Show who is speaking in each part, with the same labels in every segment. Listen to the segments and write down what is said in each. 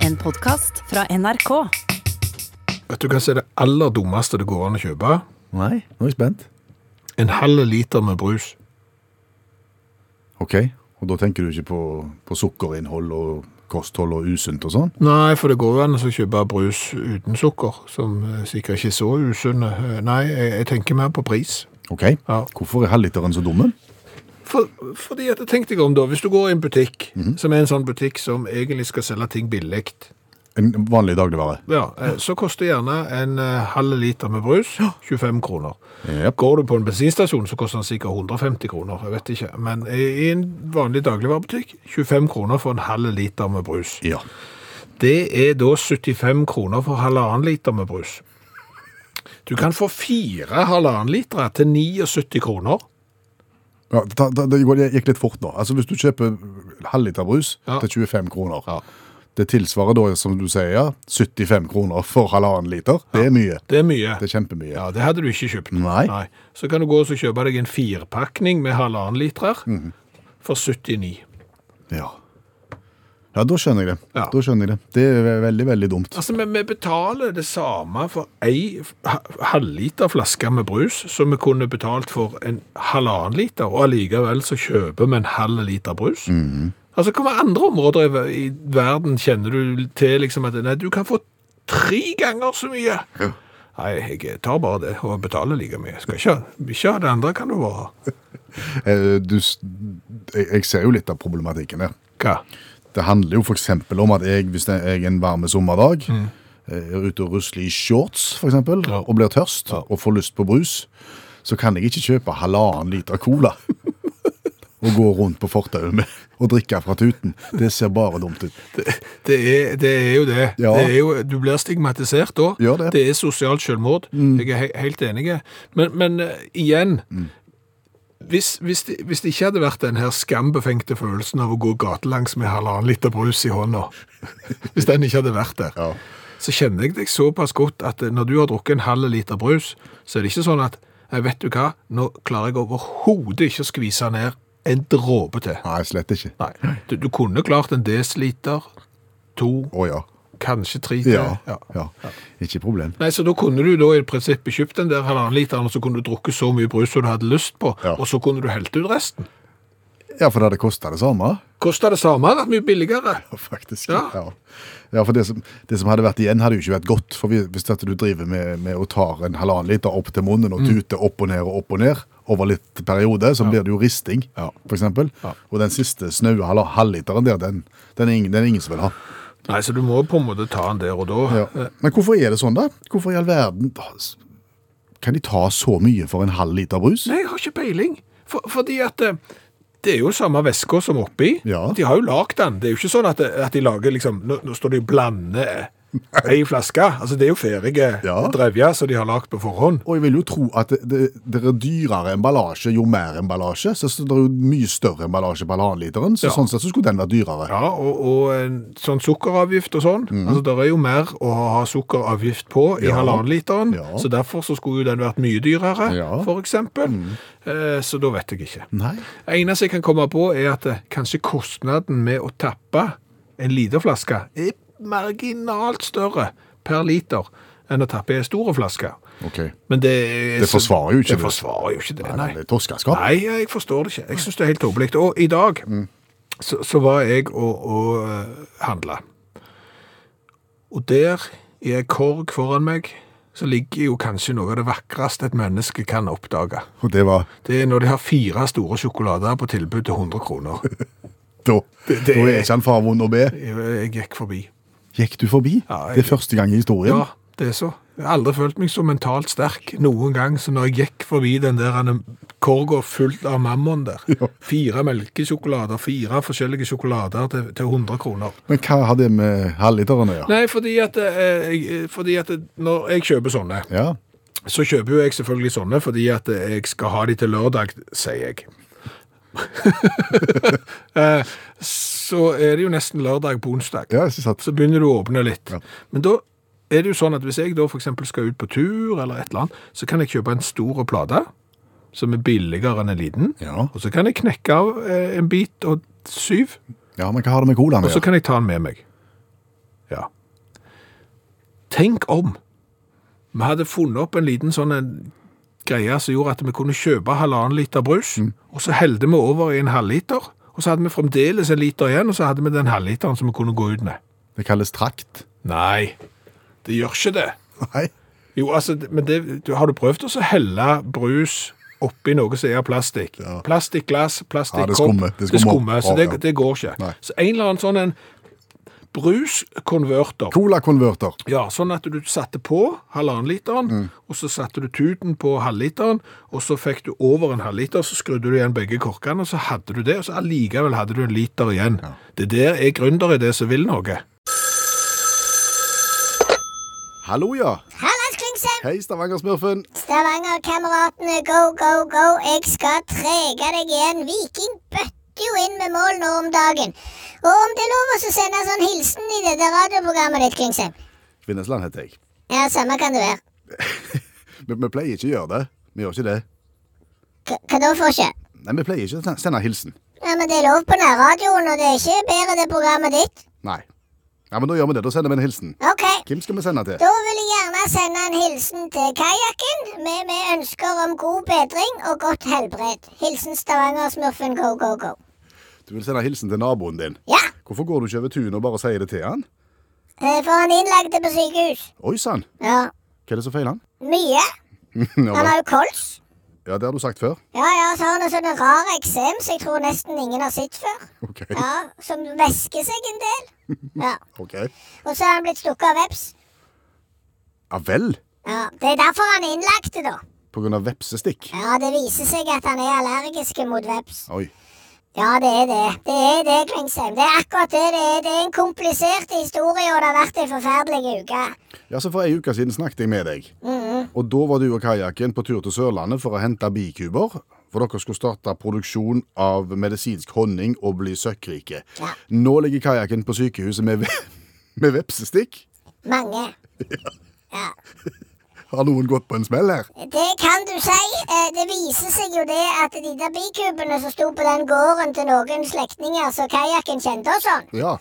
Speaker 1: En podkast fra NRK.
Speaker 2: Vet du hva som er det aller dummeste det går an å kjøpe?
Speaker 3: Nei, nå er jeg spent.
Speaker 2: En halv liter med brus.
Speaker 3: Ok, og da tenker du ikke på, på sukkerinnhold og kosthold og usunt og sånn?
Speaker 2: Nei, for det går jo an å kjøpe brus uten sukker, som eh, sikkert ikke er så usunn. Eh, Nei, jeg, jeg tenker mer på pris.
Speaker 3: Ok,
Speaker 2: Ja.
Speaker 3: hvorfor er halvliteren så dumme?
Speaker 2: For, fordi at jeg tenkte jeg om da, hvis du går i en butikk, som er en sånn butikk som egentlig skal selge ting billigt,
Speaker 3: En vanlig dagligvare.
Speaker 2: ja, eh, så koster gjerne en eh, halv liter med brus 25 kroner.
Speaker 3: Japp.
Speaker 2: Går du på en bensinstasjon, så koster den sikkert 150 kroner, jeg vet ikke. Men i i en vanlig dagligvarerbutikk, 25 kroner for en halv liter med brus.
Speaker 3: Ja.
Speaker 2: Det er da 75 kroner for halvannen liter med brus. Du kan få fire halvannen liter til 79 kroner.
Speaker 3: ja da, da, det går- det gikk litt fort nå. Altså Hvis du kjøper halvliter brus
Speaker 2: Ja.
Speaker 3: til 25 kroner, det tilsvarer da, som du sier, ja, 75 kroner for halvannen liter. Det er mye.
Speaker 2: Det er mye.
Speaker 3: Det er kjempemye.
Speaker 2: Ja, det hadde du ikke kjøpt.
Speaker 3: Nei.
Speaker 2: Så kan du gå og så kjøpe deg en firpakning med halvannen liter
Speaker 3: Mhm.
Speaker 2: for 79.
Speaker 3: Ja. Ja, da skjønner jeg det.
Speaker 2: Ja.
Speaker 3: Da skjønner jeg Det Det er ve- veldig, veldig dumt.
Speaker 2: Altså, men vi betaler det samme for ei ha- halvliter flaske med brus som vi kunne betalt for en halvannen liter, og allikevel så kjøper vi en halv liter brus. Altså, hva med andre områder i ver- i verden kjenner du til liksom at nei, du kan få tre ganger så mye? Nei, jeg tar bare det og betaler like mye. Skal ikke, ha- ikke ha det andre, kan du bare ha.
Speaker 3: Eh, Du, s- jeg, jeg ser jo litt av problematikken der.
Speaker 2: Hva?
Speaker 3: Det handler jo f.eks. om at jeg, hvis det- jeg en varme sommerdag eh, er ute og rusler i shorts for eksempel,
Speaker 2: Ja.
Speaker 3: og blir tørst og får lyst på brus, så kan jeg ikke kjøpe halvannen liter cola og gå rundt på fortauet med og drikke fra tuten. Det ser bare dumt ut.
Speaker 2: Det er, det er jo det.
Speaker 3: Ja.
Speaker 2: det er jo, du blir stigmatisert da.
Speaker 3: Gjør det. Mm.
Speaker 2: er sosialt selvmord. Jeg er he helt enig. Men, men eh, igjen, hvis, hvis, det, hvis det ikke hadde vært den her skambefengte følelsen av å gå gatelangs med halvannen liter brus i hånda, hvis den ikke hadde vært der,
Speaker 3: Ja.
Speaker 2: så kjenner jeg deg såpass godt at eh, når du har drukket en halv liter brus, så er det ikke sånn at, jeg vet du hva, nå klarer jeg overhovedet ikke å skvise ned en dråpe til.
Speaker 3: Nei, slett ikke. Å
Speaker 2: Nei, du, du kunne klart en desliter, to,
Speaker 3: ja.
Speaker 2: Kanskje tre til.
Speaker 3: Ja,
Speaker 2: Ja.
Speaker 3: ja. Ikke problem.
Speaker 2: Nei, så da kunne du da i prinsippet kjøpt den der halvannen literen, og så kunne du drukket så mye brus som du hadde lyst på,
Speaker 3: Ja.
Speaker 2: og så kunne du helt ut resten.
Speaker 3: Ja, for det hadde kosta det samme.
Speaker 2: Kostet det samme, hadde vært mye billigere.
Speaker 3: Ja, faktisk.
Speaker 2: Ja.
Speaker 3: Ja. Ja. for det som, det som hadde vært igjen, hadde jo ikke vært godt. For hvis- hvis at du driver med, med å ta en halvannen liter opp til munnen og tute opp og ned og opp og ned over litt periode, så blir det jo risting,
Speaker 2: Mm. Ja.
Speaker 3: for eksempel.
Speaker 2: Ja.
Speaker 3: Og den siste snaue halv- halvliteren der, den, den, er ingen, den er ingen som vil ha.
Speaker 2: Nei, så du må på en måte ta den der og da.
Speaker 3: Ja. Men hvorfor er det sånn, da? Hvorfor i all verden da, s- kan de ta så mye for en halv liter brus?
Speaker 2: Nei, jeg har ikke peiling. For, fordi at eh, det er jo samme væske som oppi.
Speaker 3: Ja.
Speaker 2: De har jo lagd den. Det er jo ikke sånn at, at de lager liksom Nå, nå står de og blander ei flaske. Altså, det er jo ferdige
Speaker 3: Ja.
Speaker 2: drevja som de har lagd på forhånd.
Speaker 3: Og jeg vil jo tro at det, det, det er dyrere emballasje jo mer emballasje. Så så det er jo mye større emballasje på halvannenliteren, så
Speaker 2: Ja.
Speaker 3: sånn sett så skulle den vært dyrere.
Speaker 2: Ja, og, og en sånn sukkeravgift og sånn. Altså, Det er jo mer å ha sukkeravgift på i
Speaker 3: Mhm. Ja.
Speaker 2: halvannen literen,
Speaker 3: Ja.
Speaker 2: så derfor så skulle jo den vært mye dyrere,
Speaker 3: Ja. Mhm.
Speaker 2: for eksempel. Eh, så da vet jeg ikke.
Speaker 3: Nei.
Speaker 2: Det eneste jeg kan komme på er at eh, kanskje kostnaden med å tappe en literflaske er marginalt større per liter enn å tappe en store flaske.
Speaker 3: Ok.
Speaker 2: Men det, er-
Speaker 3: Det forsvarer jo ikke
Speaker 2: det.
Speaker 3: det.
Speaker 2: forsvarer jo ikke det, nei.
Speaker 3: Det er toskeskap.
Speaker 2: Nei, jeg forstår det ikke. Jeg synes det er helt tåpelig. Og i dag så, så var jeg og, og eh, handla. Og der, i ei korg foran meg, så ligger jo kanskje noe av det vakreste et menneske kan oppdage.
Speaker 3: Og det var
Speaker 2: Det er når de har fire store sjokolader på tilbud til 100 kroner.
Speaker 3: da.
Speaker 2: Det- det
Speaker 3: da er
Speaker 2: er-
Speaker 3: ikke han far vond å be.
Speaker 2: Jeg, jeg gikk forbi.
Speaker 3: Gikk du forbi?
Speaker 2: Ja, jeg-
Speaker 3: Det er første gang i historien.
Speaker 2: Ja, det er så. Jeg har aldri følt meg så mentalt sterk noen gang, så når jeg gikk forbi den der ene korga fullt av mammon der, fire melkesjokolader, fire forskjellige sjokolader til, til 100 kroner.
Speaker 3: Men hva har det med halvliteren å gjøre?
Speaker 2: Nei, fordi at, eh, jeg- fordi at når jeg kjøper sånne,
Speaker 3: Ja.
Speaker 2: så kjøper jo jeg selvfølgelig sånne fordi at jeg skal ha de til lørdag, sier jeg. Eh, så er det jo nesten lørdag på onsdag.
Speaker 3: ja, jeg synes at
Speaker 2: så begynner du å åpne litt.
Speaker 3: Ja.
Speaker 2: Men da er det jo sånn at hvis jeg da for eksempel skal ut på tur eller et eller annet, så kan jeg kjøpe en stor plate, som er billigere enn en liten,
Speaker 3: Ja.
Speaker 2: og så kan jeg knekke av eh, en bit og syv,
Speaker 3: ja, men hva har det med colaen
Speaker 2: og
Speaker 3: å
Speaker 2: så
Speaker 3: gjøre?
Speaker 2: kan jeg ta den med meg.
Speaker 3: Ja.
Speaker 2: Tenk om vi hadde funnet opp en liten sånn en greie som gjorde at vi kunne kjøpe halvannen liter brus,
Speaker 3: Mm.
Speaker 2: og så heldte vi over i en halvliter, og så hadde vi fremdeles en liter igjen, og så hadde vi den halvliteren som vi kunne gå ut med.
Speaker 3: Det kalles trakt.
Speaker 2: Nei, det gjør ikke det.
Speaker 3: Nei.
Speaker 2: Jo, altså, det- men det, du, har du prøvd å så helle brus oppi noe som er plastikk?
Speaker 3: Ja.
Speaker 2: Plastikkglass,
Speaker 3: Ja, det
Speaker 2: plastikkopp.
Speaker 3: skummer.
Speaker 2: Det
Speaker 3: Det skummer.
Speaker 2: skummer, så
Speaker 3: Ja, ja.
Speaker 2: det, det går ikke.
Speaker 3: Nei.
Speaker 2: Så en eller annen sånn en bruskonverter.
Speaker 3: Cola-konverter.
Speaker 2: Ja, sånn at du satte på halvannen literen,
Speaker 3: Mm.
Speaker 2: og så satte du tuten på halvliteren, og så fikk du over en halvliter, så skrudde du igjen begge korkene, og så hadde du det, og så allikevel hadde du en liter igjen. Det der er gründer i det som vil noe.
Speaker 3: Hallo, ja.
Speaker 4: Hallas, Klingsheim!
Speaker 3: Hei, Stavanger-smurfen.
Speaker 4: Stavanger-kameratene, go, go, go. Jeg skal trege deg igjen. Viking bøtter jo inn med mål nå om dagen. Og om det er lov å så sende sånn hilsen i det der radioprogrammet ditt, Klingsheim.
Speaker 3: Kvinnesland heter jeg.
Speaker 4: Ja, samme kan det være.
Speaker 3: Men vi pleier ikke å gjøre det. Vi gjør ikke det.
Speaker 4: K hva da for ikke?
Speaker 3: Nei, vi pleier ikke å sen- sende hilsen.
Speaker 4: Ja, men det er lov på nærradioen, og det er ikke bedre det programmet ditt.
Speaker 3: Nei. Ja, men da gjør vi det. Da sender vi en hilsen.
Speaker 4: Ok,
Speaker 3: Hvem skal vi sende til?
Speaker 4: da vil jeg gjerne sende en hilsen til kajakken med, med ønsker om god bedring og godt helbred. Hilsen Stavanger-smurfen, go, go, go.
Speaker 3: Du vil sende hilsen til naboen din.
Speaker 4: Ja,
Speaker 3: Hvorfor går du ikke over tunet og bare sier det til han?
Speaker 4: eh, for han innlagte på sykehus.
Speaker 3: Oi sann,
Speaker 4: Ja.
Speaker 3: hva er det som feiler han?
Speaker 4: Mye.
Speaker 3: ja,
Speaker 4: Han
Speaker 3: vel.
Speaker 4: har jo kols.
Speaker 3: ja, det har du sagt før.
Speaker 4: Ja, ja, så har han noe sånne rare eksem som jeg tror nesten ingen har sett før.
Speaker 3: Ok.
Speaker 4: Ja, Som væsker seg en del. Ja.
Speaker 3: Ok.
Speaker 4: Og så er han blitt stukket av veps.
Speaker 3: Ja vel.
Speaker 4: Ja, Det er derfor han er innlagt, da.
Speaker 3: På grunn av vepsestikk.
Speaker 4: Ja, Det viser seg at han er allergisk mot veps.
Speaker 3: Oi.
Speaker 4: Ja, det er det. Det er det, Klingsheim. Det er akkurat det det er. Det er en komplisert historie, og det har vært en forferdelig uke.
Speaker 3: Ja, så For ei uke siden snakket jeg med deg. Og Da var du og kajakken på tur til Sørlandet for å hente bikuber. For dere skulle starte produksjon av medisinsk honning og bli søkkrike.
Speaker 4: Ja.
Speaker 3: Nå ligger kajakken på sykehuset med, ve- med vepsestikk.
Speaker 4: Mange. Ja.
Speaker 3: Har noen gått på en smell her?
Speaker 4: Det kan du si. Eh, Det viser seg jo det at de der bikubene som sto på den gården til noen slektninger som kajakken kjente og sånn,
Speaker 3: Ja,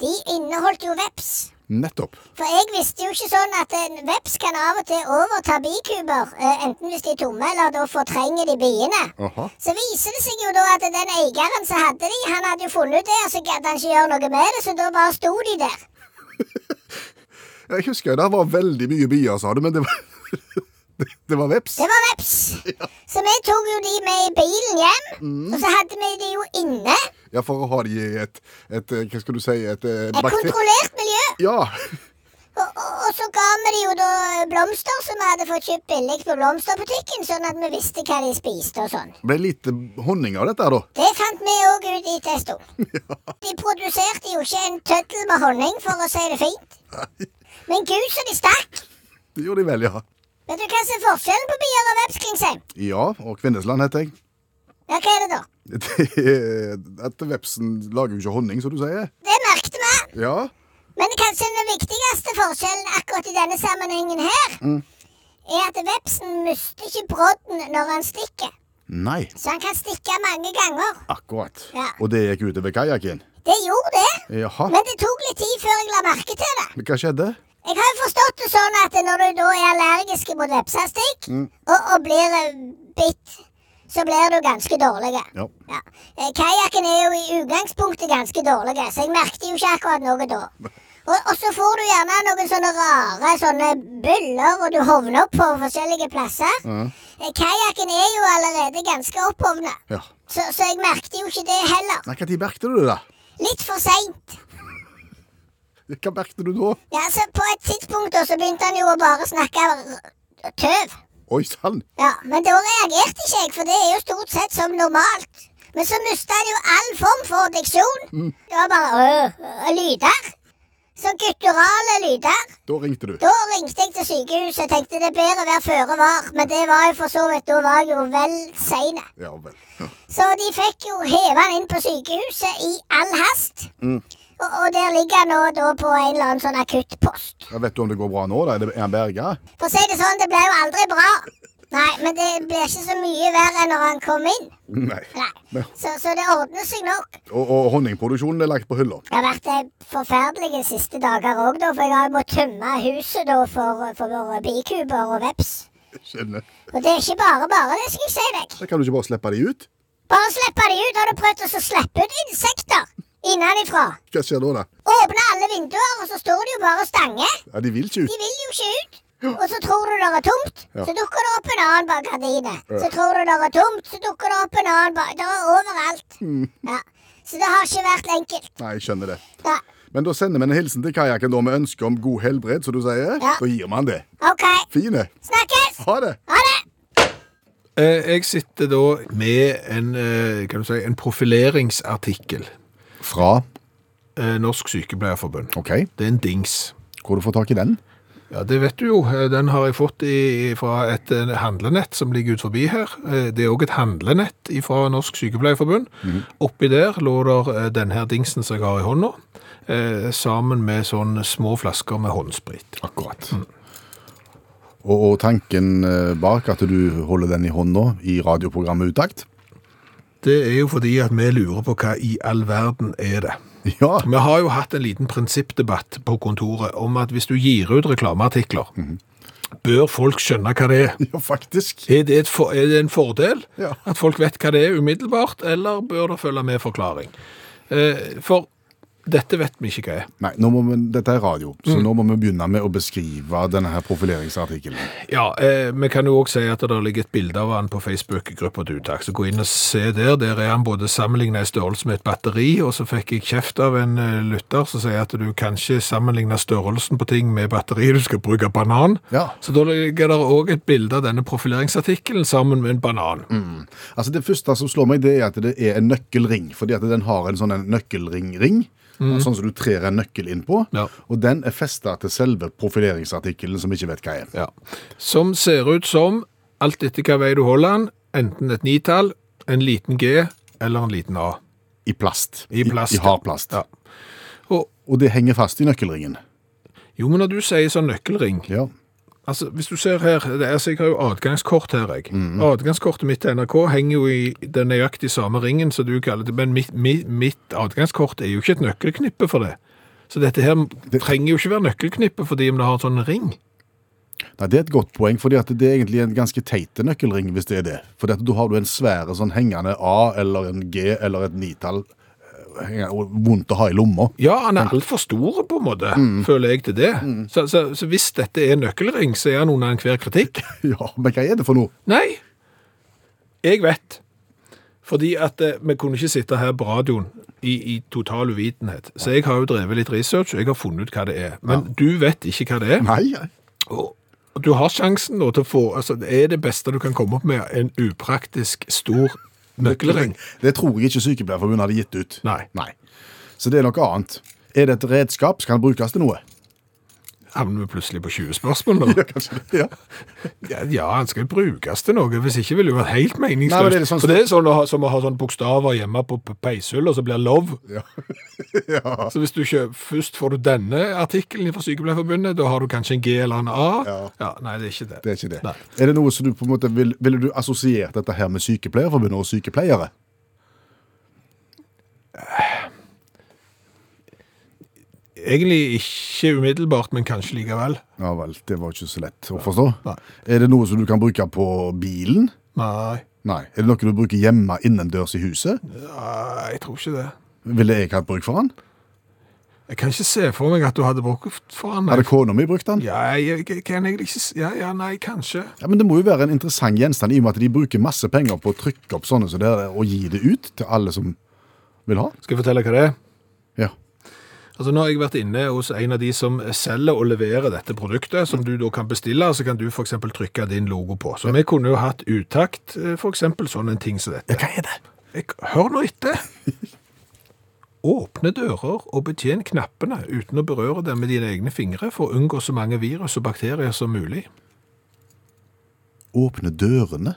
Speaker 4: de inneholdt jo veps.
Speaker 3: nettopp.
Speaker 4: For jeg visste jo ikke sånn at en veps kan av og til overta bikuber, eh, enten hvis de er tomme eller da fortrenger de biene.
Speaker 3: Aha.
Speaker 4: Så viser det seg jo da at den eieren som hadde de, han hadde jo funnet ut det, og så gadd han ikke gjøre noe med det, så da bare sto de der.
Speaker 3: Jeg husker jo det var veldig mye bier, sa du, men det var, det, det var veps.
Speaker 4: Det var veps. Så vi tok jo de med i bilen hjem, og så hadde vi de jo inne.
Speaker 3: Ja, for å ha de i et, et eh, Hva skal du si Et, eh,
Speaker 4: Et
Speaker 3: bakter-
Speaker 4: kontrollert miljø.
Speaker 3: Ja.
Speaker 4: Og, og, og så ga vi dem jo da blomster som vi hadde fått kjøpt billig på blomsterbutikken, sånn at vi visste hva de spiste og sånn.
Speaker 3: Det ble lite honning av dette, her, da.
Speaker 4: Det fant vi òg ut i en stund. De produserte jo ikke en tøddel med honning, for å si det fint. Men gud, så de stakk!
Speaker 3: Det gjorde de vel, ja.
Speaker 4: Vet du hva som er forskjellen på bier og veps, Klingsheim?
Speaker 3: Ja, og Kvinnesland heter jeg.
Speaker 4: Ja, hva er det da?
Speaker 3: Det er at vepsen lager jo ikke honning, som du sier.
Speaker 4: Det merket vi.
Speaker 3: Ja.
Speaker 4: Men kanskje den viktigste forskjellen akkurat i denne sammenhengen her, er at vepsen mister ikke brodden når han stikker.
Speaker 3: Nei,
Speaker 4: Så han kan stikke mange ganger.
Speaker 3: akkurat.
Speaker 4: Ja.
Speaker 3: Og det gikk utover kajakken.
Speaker 4: Det gjorde det,
Speaker 3: Jaha.
Speaker 4: men det tok litt tid før jeg la merke til det.
Speaker 3: Men Hva skjedde?
Speaker 4: Jeg har jo forstått det sånn at når du da er allergisk mot vepsestikk og, og blir eh, bitt, så blir du ganske dårlig.
Speaker 3: Ja.
Speaker 4: Ja. Eh, Kajakken er jo i utgangspunktet ganske dårlig, så jeg merket jo ikke akkurat noe da. Og, og så får du gjerne noen sånne rare sånne byller, og du hovner opp på forskjellige plasser. Eh, Kajakken er jo allerede ganske opphovna,
Speaker 3: ja.
Speaker 4: så, så jeg merket jo ikke det heller.
Speaker 3: Nei, Når merket du det? da?
Speaker 4: Litt for seint.
Speaker 3: Hva merket du da?
Speaker 4: Ja, så På et tidspunkt da, så begynte han jo å bare snakke r- tøv.
Speaker 3: Oi sann!
Speaker 4: Ja, Men da reagerte ikke jeg, for det er jo stort sett som normalt. Men så mista han jo all form for diksjon. Det var bare øh, øh, lyder. Så gutturale lyder.
Speaker 3: Da ringte du.
Speaker 4: Da ringte jeg til sykehuset og tenkte det er bedre å være føre var. Men det var jo for så vidt, da var jeg jo vel seine.
Speaker 3: Ja vel. Ja.
Speaker 4: Så de fikk jo heve han inn på sykehuset i all hast. Og, og der ligger han nå da på en eller annen sånn akuttpost.
Speaker 3: Ja, Vet du om det går bra nå? da? Er det- Er han berga?
Speaker 4: For å si det sånn, det ble jo aldri bra. Nei, men det blir ikke så mye verre enn når han kom inn.
Speaker 3: Nei.
Speaker 4: Nei. Så, så det ordner seg nok.
Speaker 3: Og, og honningproduksjonen er lagt på hylla.
Speaker 4: Det har vært eh, forferdelige siste dager òg, da. For jeg har jo måttet tømme huset da for, for våre bikuber og veps.
Speaker 3: Skjønner.
Speaker 4: Og det er ikke bare bare, det skal jeg si deg.
Speaker 3: Da kan du ikke bare slippe de ut?
Speaker 4: Bare slippe de ut. Har du prøvd å så slippe ut insekter innenfra?
Speaker 3: Hva skjer da, da?
Speaker 4: Åpne alle vinduer, og så står det jo bare stanger.
Speaker 3: Ja, De vil ikke ut.
Speaker 4: De vil jo ikke ut. Og så tror du det er tomt,
Speaker 3: Ja.
Speaker 4: så dukker det opp en annen bak gardinet. Så tror du det er tomt, så dukker det opp en annen bak Det er overalt. Ja. Så det har ikke vært enkelt.
Speaker 3: Nei, jeg skjønner det.
Speaker 4: Ja.
Speaker 3: Men da sender vi en hilsen til kajakken da med ønske om god helbred, som du sier.
Speaker 4: Ja.
Speaker 3: Da gir man det.
Speaker 4: OK.
Speaker 3: Fine.
Speaker 4: Snakkes!
Speaker 3: Ha det.
Speaker 4: Ha det!
Speaker 2: Eh, Jeg sitter da med en, eh, kan du si, en profileringsartikkel.
Speaker 3: Fra
Speaker 2: eh, Norsk Sykepleierforbund.
Speaker 3: OK,
Speaker 2: Det er en dings.
Speaker 3: hvor du får tak i den?
Speaker 2: Ja, det vet du jo. Eh, Den har jeg fått i, fra et eh, handlenett som ligger ut forbi her. Eh, Det er òg et handlenett fra Norsk Sykepleierforbund. Oppi der lå der denne dingsen som jeg har i hånda, eh, sammen med sånne små flasker med håndsprit.
Speaker 3: Akkurat. Og, og tanken eh, bak at du holder den i hånda i radioprogrammet Utakt?
Speaker 2: Det er jo fordi at vi lurer på hva i all verden er det.
Speaker 3: Ja.
Speaker 2: Vi har jo hatt en liten prinsippdebatt på kontoret om at hvis du gir ut reklameartikler, bør folk skjønne hva det er.
Speaker 3: ja, faktisk.
Speaker 2: Er det, et for, er det en fordel
Speaker 3: Ja.
Speaker 2: at folk vet hva det er umiddelbart, eller bør det følge med forklaring? Eh, for dette vet vi ikke hva er.
Speaker 3: Nei, nå må vi, dette er radio, så nå må vi begynne med å beskrive denne her profileringsartikkelen.
Speaker 2: Ja, eh, Vi kan jo òg si at det ligger et bilde av han på Facebook-gruppa til uttak. Så gå inn og se der. Der er han både sammenligna i størrelse med et batteri, og så fikk jeg kjeft av en eh, lytter som sier at du kan ikke sammenligne størrelsen på ting med batteri, du skal bruke banan.
Speaker 3: Ja.
Speaker 2: Så da ligger det òg et bilde av denne profileringsartikkelen sammen med en banan.
Speaker 3: Altså Det første som slår meg, det er at det er en nøkkelring. Fordi at den har en sånn en nøkkelring-ring. Sånn som du trer en nøkkel inn på.
Speaker 2: Mhm. Ja.
Speaker 3: Og den er festa til selve profileringsartikkelen, som vi ikke vet hva er.
Speaker 2: Ja. Som ser ut som, alt etter hva vei du holder den, enten et nitall, en liten G eller en liten A.
Speaker 3: I plast.
Speaker 2: I plast,
Speaker 3: I, i hard plast.
Speaker 2: ja. Og,
Speaker 3: Og det henger fast i nøkkelringen.
Speaker 2: jo, men når du sier sånn nøkkelring,
Speaker 3: Ja.
Speaker 2: altså hvis du ser her, det er, så jeg har jo adgangskort her, jeg. Adgangskortet mitt til NRK henger jo i den nøyaktig samme ringen som du kaller det, men mitt, mitt, mitt adgangskort er jo ikke et nøkkelknippe for det. Så dette her trenger jo ikke være nøkkelknippe fordi om det har en sånn ring.
Speaker 3: Nei, Det er et godt poeng, fordi at det er egentlig en ganske teit nøkkelring. hvis det er det. For dette, da har du en svære sånn hengende A eller en G eller et nitall. eh, hengende- og Vondt å ha i lomma.
Speaker 2: Ja, han
Speaker 3: Mm.
Speaker 2: er altfor stor, på en måte, føler jeg til det. Så, så, så hvis dette er nøkkelring, så er han under enhver kritikk.
Speaker 3: Ja, Men hva er det for noe?
Speaker 2: Nei, jeg vet. Fordi at eh, vi kunne ikke sitte her på radioen i, i total uvitenhet. Så jeg har jo drevet litt research, og jeg har funnet ut hva det er. Men du vet ikke hva det er.
Speaker 3: Nei, nei.
Speaker 2: Og og du har sjansen nå til å få altså, Det er det beste du kan komme opp med, en upraktisk, stor nøkkelring.
Speaker 3: Det tror jeg ikke Sykepleierforbundet hadde gitt ut.
Speaker 2: Nei.
Speaker 3: Så det er noe annet. Er det et redskap? Skal det brukes til noe?
Speaker 2: Havner vi plutselig på 20 spørsmål nå?
Speaker 3: kanskje det. Ja.
Speaker 2: Ja, ja, han skal jo brukes til noe, hvis ikke ville det vært helt meningsløst.
Speaker 3: Nei, men det er sånn-
Speaker 2: For det er sånn å ha, som å ha sånne bokstaver hjemme på p- peishyll, og så blir det lov. Så hvis du kjøper, først får du denne artikkelen fra Sykepleierforbundet, da har du kanskje en G eller en A.
Speaker 3: Ja.
Speaker 2: nei, det er ikke det.
Speaker 3: Det er ikke det.
Speaker 2: Nei.
Speaker 3: Er det noe som du på en måte vil, Ville du assosiert dette her med Sykepleierforbundet og sykepleiere?
Speaker 2: Egentlig ikke umiddelbart, men kanskje likevel.
Speaker 3: Ja vel, det var ikke så lett å forstå.
Speaker 2: Nei.
Speaker 3: Er det noe som du kan bruke på bilen?
Speaker 2: Nei,
Speaker 3: Nei. Er det noe du bruker hjemme innendørs i huset?
Speaker 2: nei jeg tror ikke det.
Speaker 3: Ville jeg hatt bruk for den?
Speaker 2: Jeg kan ikke se for meg at du hadde brukt for han. nei.
Speaker 3: Hadde kona mi brukt den?
Speaker 2: Ja, jeg, jeg kan egentlig ikke... s- Ja, ja, nei, kanskje.
Speaker 3: Ja, men Det må jo være en interessant gjenstand, i og med at de bruker masse penger på å trykke opp sånne som det her, og gi det ut til alle som vil ha.
Speaker 2: Skal jeg fortelle hva det er?
Speaker 3: Ja.
Speaker 2: Altså Nå har jeg vært inne hos en av de som selger og leverer dette produktet, som du da kan bestille, og så kan du f.eks. trykke din logo på. Så vi kunne jo hatt utakt, eh, for eksempel sånn en ting som dette.
Speaker 3: Hva er det?
Speaker 2: Jeg, hør nå etter! Åpne dører og betjen knappene uten å berøre dem med dine egne fingre for å unngå så mange virus og bakterier som mulig.
Speaker 3: Åpne dørene?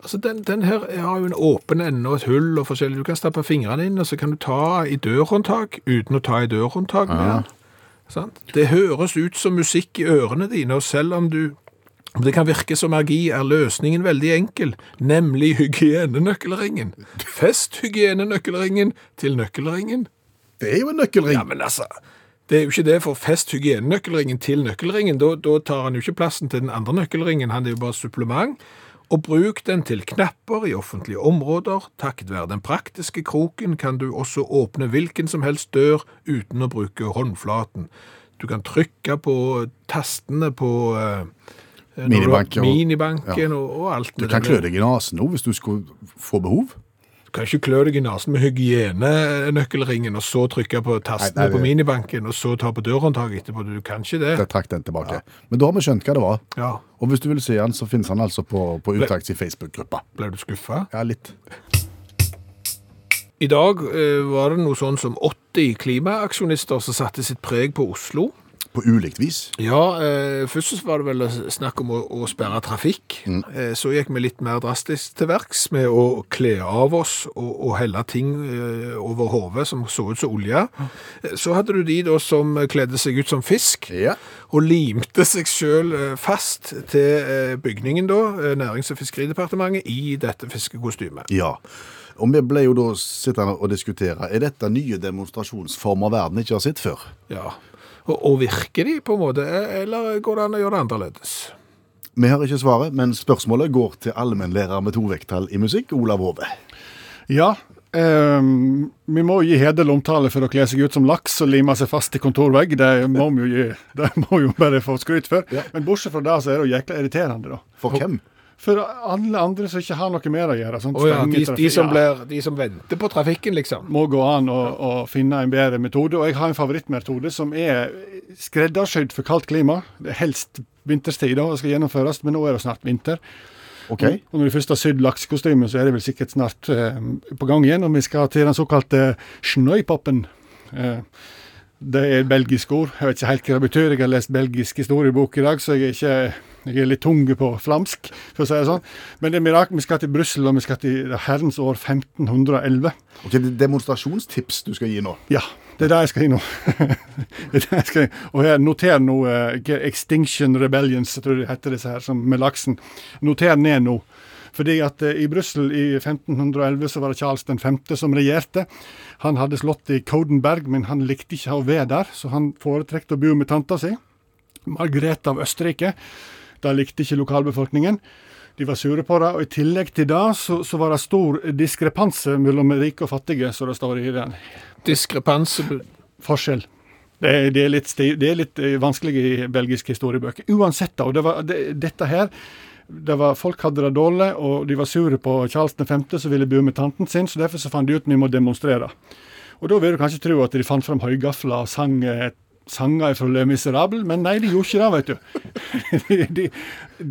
Speaker 2: Altså, den, den her har jo en åpen ende og et hull og forskjellig. Du kan stappe fingrene inn, og så kan du ta i dørhåndtak uten å ta i dørhåndtak med den. Sant? Det høres ut som musikk i ørene dine, og selv om du Om det kan virke som magi, er løsningen veldig enkel, nemlig hygienenøkkelringen. Fest hygienenøkkelringen til nøkkelringen.
Speaker 3: Det er jo en nøkkelring.
Speaker 2: Ja, men altså, det er jo ikke det for fest hygienenøkkelringen til nøkkelringen. Da, da tar han jo ikke plassen til den andre nøkkelringen, han er jo bare supplement. Og bruk den til knapper i offentlige områder. Takket være den praktiske kroken kan du også åpne hvilken som helst dør uten å bruke håndflaten. Du kan trykke på tastene på eh, når du har
Speaker 3: Minibanken og-
Speaker 2: minibanken
Speaker 3: ja.
Speaker 2: og, og alt.
Speaker 3: Du kan klø deg i nesen nå hvis du skulle få behov.
Speaker 2: Du kan ikke klø deg i nesen med hygienenøkkelringen, og så trykke på tastene
Speaker 3: Nei, nei, det-
Speaker 2: på minibanken, og så ta på dørhåndtaket etterpå. Du kan ikke det.
Speaker 3: Jeg trakk den tilbake. Men da har vi skjønt hva det var.
Speaker 2: Ja.
Speaker 3: Og hvis du vil se han, så finnes han altså på, på Utakts i Facebook-gruppa.
Speaker 2: Ble du skuffa?
Speaker 3: Ja, litt.
Speaker 2: I dag eh, var det noe sånn som 80 klimaaksjonister som satte sitt preg på Oslo.
Speaker 3: På ulikt vis.
Speaker 2: Ja, eh, først så var det vel snakk om å, å sperre trafikk.
Speaker 3: Mm.
Speaker 2: Eh, så gikk vi litt mer drastisk til verks med å kle av oss og, og helle ting eh, over hodet som så ut som olje. Eh, Så hadde du de da som kledde seg ut som fisk.
Speaker 3: Ja.
Speaker 2: Og limte seg sjøl fast til eh, bygningen, da, eh, Nærings- og fiskeridepartementet, i dette fiskekostymet.
Speaker 3: Ja. Og vi ble jo da sittende og diskutere, er dette nye demonstrasjonsformer verden ikke har sett før?
Speaker 2: Ja. Og, og virker de, på en måte, eh, eller går det an å gjøre det annerledes?
Speaker 3: Vi har ikke svaret, men spørsmålet går til allmennlærer med to vekttall i musikk, Olav Hove.
Speaker 5: Ja, ehm, vi må jo gi hederlig omtale for å kle seg ut som laks og lime seg fast til kontorvegg. Det må vi jo gi. Det må vi jo bare få skryt for. Men bortsett fra det, så er det jo jækla irriterende, da.
Speaker 3: For hvem?
Speaker 5: For alle andre som ikke har noe mer å gjøre. Sånn,
Speaker 2: Å ja, de,
Speaker 5: stengetrafikk-
Speaker 2: de, som
Speaker 5: Ja,
Speaker 2: blir, de som venter på trafikken, liksom.
Speaker 5: Må gå an å, å finne en bedre metode. Og jeg har en favorittmetode som er skreddersydd for kaldt klima. Det er helst vinterstid, da. Det skal gjennomføres, men nå er det snart vinter.
Speaker 3: Ok.
Speaker 5: Mm. Og når de først har sydd laksekostyme, så er det vel sikkert snart eh, på gang igjen. Og vi skal til den såkalte snøypoppen. Eh, det er et belgisk ord. Jeg vet ikke helt hva det betyr. Jeg har lest belgisk historiebok i dag, så jeg er, ikke, jeg er litt tung på flamsk, for å si det sånn. Men det er mirakel. Vi skal til Brussel, og vi skal til det herrens år 1511.
Speaker 3: Ok, det er Demonstrasjonstips du skal gi nå.
Speaker 5: Ja, det er det jeg skal inn nå. det er det jeg skal inn. Og jeg noter nå eh, hva Extinction Rebellions, jeg tror det heter disse her, som med laksen. Noter ned nå. Fordi at eh, i Brussel i 1511 så var det Charles 5. som regjerte. Han hadde slått i Codenberg, men han likte ikke å være der, så han foretrekte å bo med tanta si. Margrethe av Østerrike. Det likte ikke lokalbefolkningen. De var sure på det. Og i tillegg til det så, så var det stor diskrepanse mellom rike og fattige, som det står i den
Speaker 2: Diskrepanse
Speaker 5: forskjell. Det er, det er litt, sti- det er litt eh, vanskelig i belgiske historiebøker. Uansett, da. Og det var, det, dette her det var, Folk hadde det dårlig, og de var sure på Charles 5., som ville bo med tanten sin, så derfor så fant de ut vi må demonstrere. Og da vil du kanskje tro at de fant fram høygafler og sang eh, sanger fra Le Miserable, men nei, de gjorde ikke det, vet du. de, de,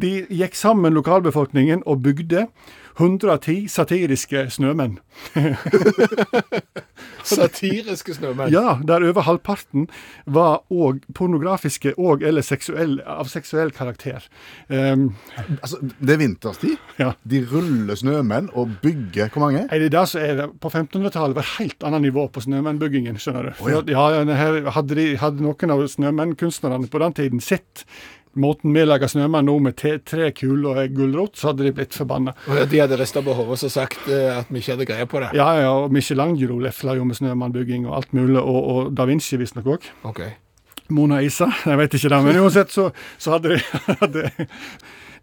Speaker 5: de gikk sammen, lokalbefolkningen, og bygde 110 satiriske snømenn.
Speaker 2: Satiriske snømenn.
Speaker 5: Ja, der over halvparten var òg pornografiske og eller seksuell, av seksuell karakter. Ehm,
Speaker 3: Altså, det er vinterstid.
Speaker 5: ja.
Speaker 3: De ruller snømenn og bygger Hvor mange?
Speaker 5: Nei, det er det som er det. På 1500-tallet var det helt annet nivå på snømennbyggingen. skjønner du. For,
Speaker 3: ja.
Speaker 5: at- ja, ja, her hadde, de, hadde noen av snømennkunstnerne på den tiden sett måten vi lager snømenn nå med te, tre kuler og ei gulrot, så hadde de blitt forbanna.
Speaker 2: Og De hadde rista på hodet og sagt eh, at vi ikke hadde greie på det.
Speaker 5: Ja, ja, og Michelangelo lefla jo med snømannbygging og alt mulig, og, og da Vinci visstnok òg.
Speaker 2: Ok.
Speaker 5: Mona Isa, jeg vet ikke det, men uansett så, så hadde de hadde,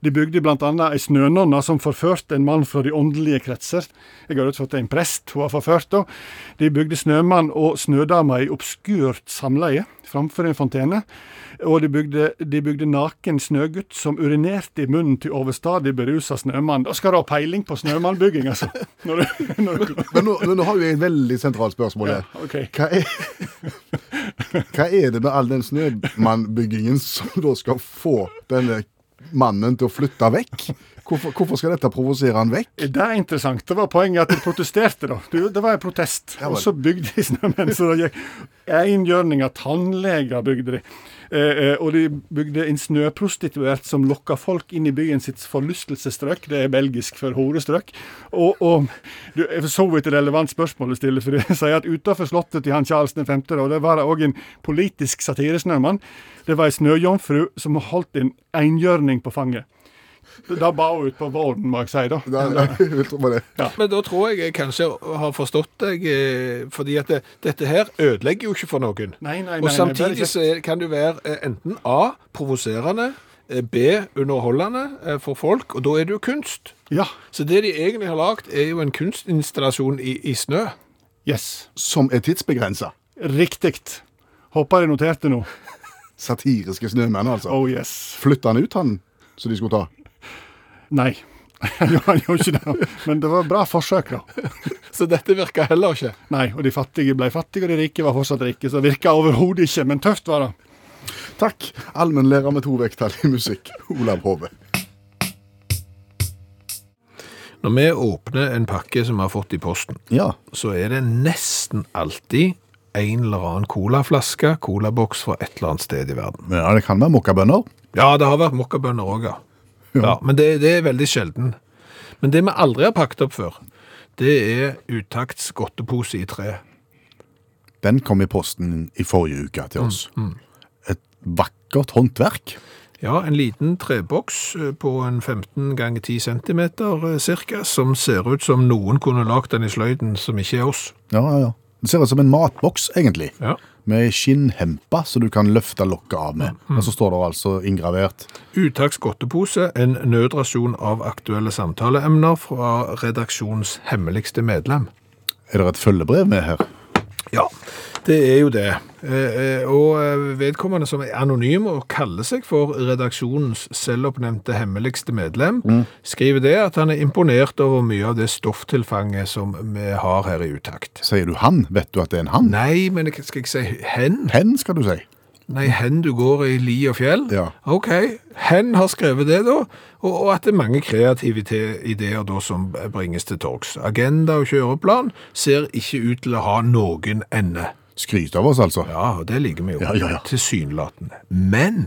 Speaker 5: De bygde bl.a. ei snønonne som forførte en mann fra de åndelige kretser. Jeg går ut fra at det er en prest hun har forført. Da. De bygde snømann og snødame i obskurt samleie framfor en fontene. Og de bygde, de bygde naken snøgutt som urinerte i munnen til overstadig berusa snømann. Da skal du ha peiling på snømannbygging, altså! Når du, når du,
Speaker 3: Men nå, nå har jo jeg et veldig sentralt spørsmål her.
Speaker 5: ok.
Speaker 3: Hva er, hva er det med all den snømannbyggingen som da skal få denne mannen til å flytte vekk? Hvorfor, hvorfor skal dette provosere han vekk?
Speaker 5: Det er interessant. Det var poenget at de protesterte, da. Det, det var en protest.
Speaker 3: Ja vel.
Speaker 5: Og så bygde de snømenn. Så det gikk enhjørninger. Tannleger bygde de. Eh, eh, og de bygde en snøprostituert som lokka folk inn i byen sitt forlystelsesstrøk. Det er belgisk for horestrøk. Og, og du, er for så vidt et relevant spørsmål å stille, for de sier at utafor slottet til han Charles 5., og det var det òg en politisk satiresnømann, det var ei snøjomfru som holdt en enhjørning på fanget. Da ba hun ut på våren, må jeg si, da.
Speaker 3: Nei, nei, jeg tror bare det.
Speaker 2: Men da tror jeg jeg kanskje har forstått deg, eh, fordi at det, dette her ødelegger jo ikke for noen.
Speaker 5: Nei, nei,
Speaker 2: Og
Speaker 5: nei, nei,
Speaker 2: samtidig
Speaker 5: bare
Speaker 2: så er- kan det jo være eh, enten A, provoserende, eh, B, underholdende eh, for folk, og da er det jo kunst.
Speaker 5: Ja.
Speaker 2: Så det de egentlig har lagd er jo en kunstinstallasjon i, i snø.
Speaker 5: Yes.
Speaker 3: Som er tidsbegrensa.
Speaker 5: Riktig. Håper jeg noterte nå.
Speaker 3: Satiriske snømenn, altså.
Speaker 5: Oh yes.
Speaker 3: Flytta han ut, han som de skulle ta?
Speaker 5: Nei. Jo, Han gjorde ikke det, men det var bra forsøk, da.
Speaker 2: Så dette virker heller ikke.
Speaker 5: Nei, og de fattige ble fattige, og de rike var fortsatt rike, så det virka overhodet ikke, men tøft var det.
Speaker 3: Takk, allmennlærer med to vekttall i musikk, Olav Hove.
Speaker 2: Når vi åpner en pakke som vi har fått i posten,
Speaker 3: Ja.
Speaker 2: så er det nesten alltid en eller annen colaflaske, colaboks fra et eller annet sted i verden.
Speaker 3: ja, det kan være mokkabønner.
Speaker 2: Ja, det har vært mokkabønner òg, ja. ja. Men det, det er veldig sjelden. Men det vi aldri har pakket opp før, det er utakts godtepose i tre.
Speaker 3: Den kom i posten i forrige uke til oss.
Speaker 2: Mm,
Speaker 3: Et vakkert håndverk.
Speaker 2: Ja, en liten treboks eh, på en 15 ganger 10 cm eh, cirka, som ser ut som noen kunne lagd den i sløyden, som ikke er oss.
Speaker 3: Ja, ja, ja. Det ser ut som en matboks, egentlig.
Speaker 2: Ja.
Speaker 3: Med skinnhempa som du kan løfte lokket av
Speaker 2: Mm,
Speaker 3: med. Og så står det altså inngravert
Speaker 2: Utakts godtepose, en nødrasjon av aktuelle samtaleemner fra redaksjonens hemmeligste medlem.
Speaker 3: Er det et følgebrev med her?
Speaker 2: Ja, det er jo det. Eh, eh, Og eh, vedkommende som er anonym og kaller seg for redaksjonens selvoppnevnte hemmeligste medlem, skriver det at han er imponert over mye av det stofftilfanget som vi har her i utakt.
Speaker 3: Sier du han? Vet du at det er en han?
Speaker 2: Nei, men jeg skal ikke si hen.
Speaker 3: Hen, skal du si.
Speaker 2: Nei, hen du går i li og fjell?
Speaker 3: Ja.
Speaker 2: Ok, hen har skrevet det da, og, og at det er mange kreative te- ideer da som bringes til torgs. Agenda og kjøreplan ser ikke ut til å ha noen ende.
Speaker 3: Skryt av oss, altså.
Speaker 2: Ja, og det liker vi jo.
Speaker 3: Ja, ja, ja.
Speaker 2: Tilsynelatende. Men,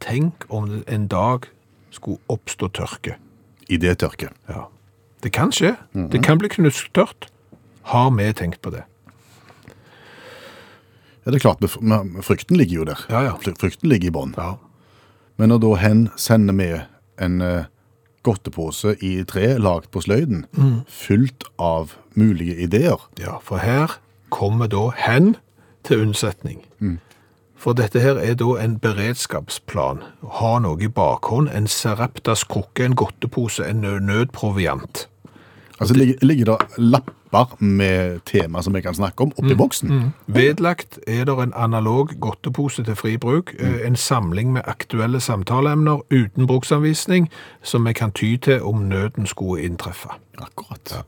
Speaker 2: tenk om det en dag skulle oppstå tørke.
Speaker 3: Idétørke.
Speaker 2: Ja. Det kan skje.
Speaker 3: Mhm.
Speaker 2: Det kan bli knusktørt. Har vi tenkt på det?
Speaker 3: Ja, det er klart, bef- men frykten ligger jo der.
Speaker 2: Ja, ja.
Speaker 3: Fry- Frykten ligger i bånn.
Speaker 2: Ja.
Speaker 3: Men når da hen sender med en eh, godtepose i tre lagd på sløyden,
Speaker 2: Mm.
Speaker 3: fylt av mulige ideer
Speaker 2: Ja, for her kommer da hen til unnsetning.
Speaker 3: Mm.
Speaker 2: For dette her er da en beredskapsplan. Ha noe i bakhånd, en sereptas krukke, en godtepose, en nø- nødproviant.
Speaker 3: Altså ligger, ligger det lapper med tema som jeg kan snakke om,
Speaker 2: Mm.
Speaker 3: oppi boksen?
Speaker 2: Vedlagt er det en analog godtepose til fri bruk, eh, en samling med aktuelle samtaleemner uten bruksanvisning, som vi kan ty til om nøden skulle inntreffe.
Speaker 3: Akkurat.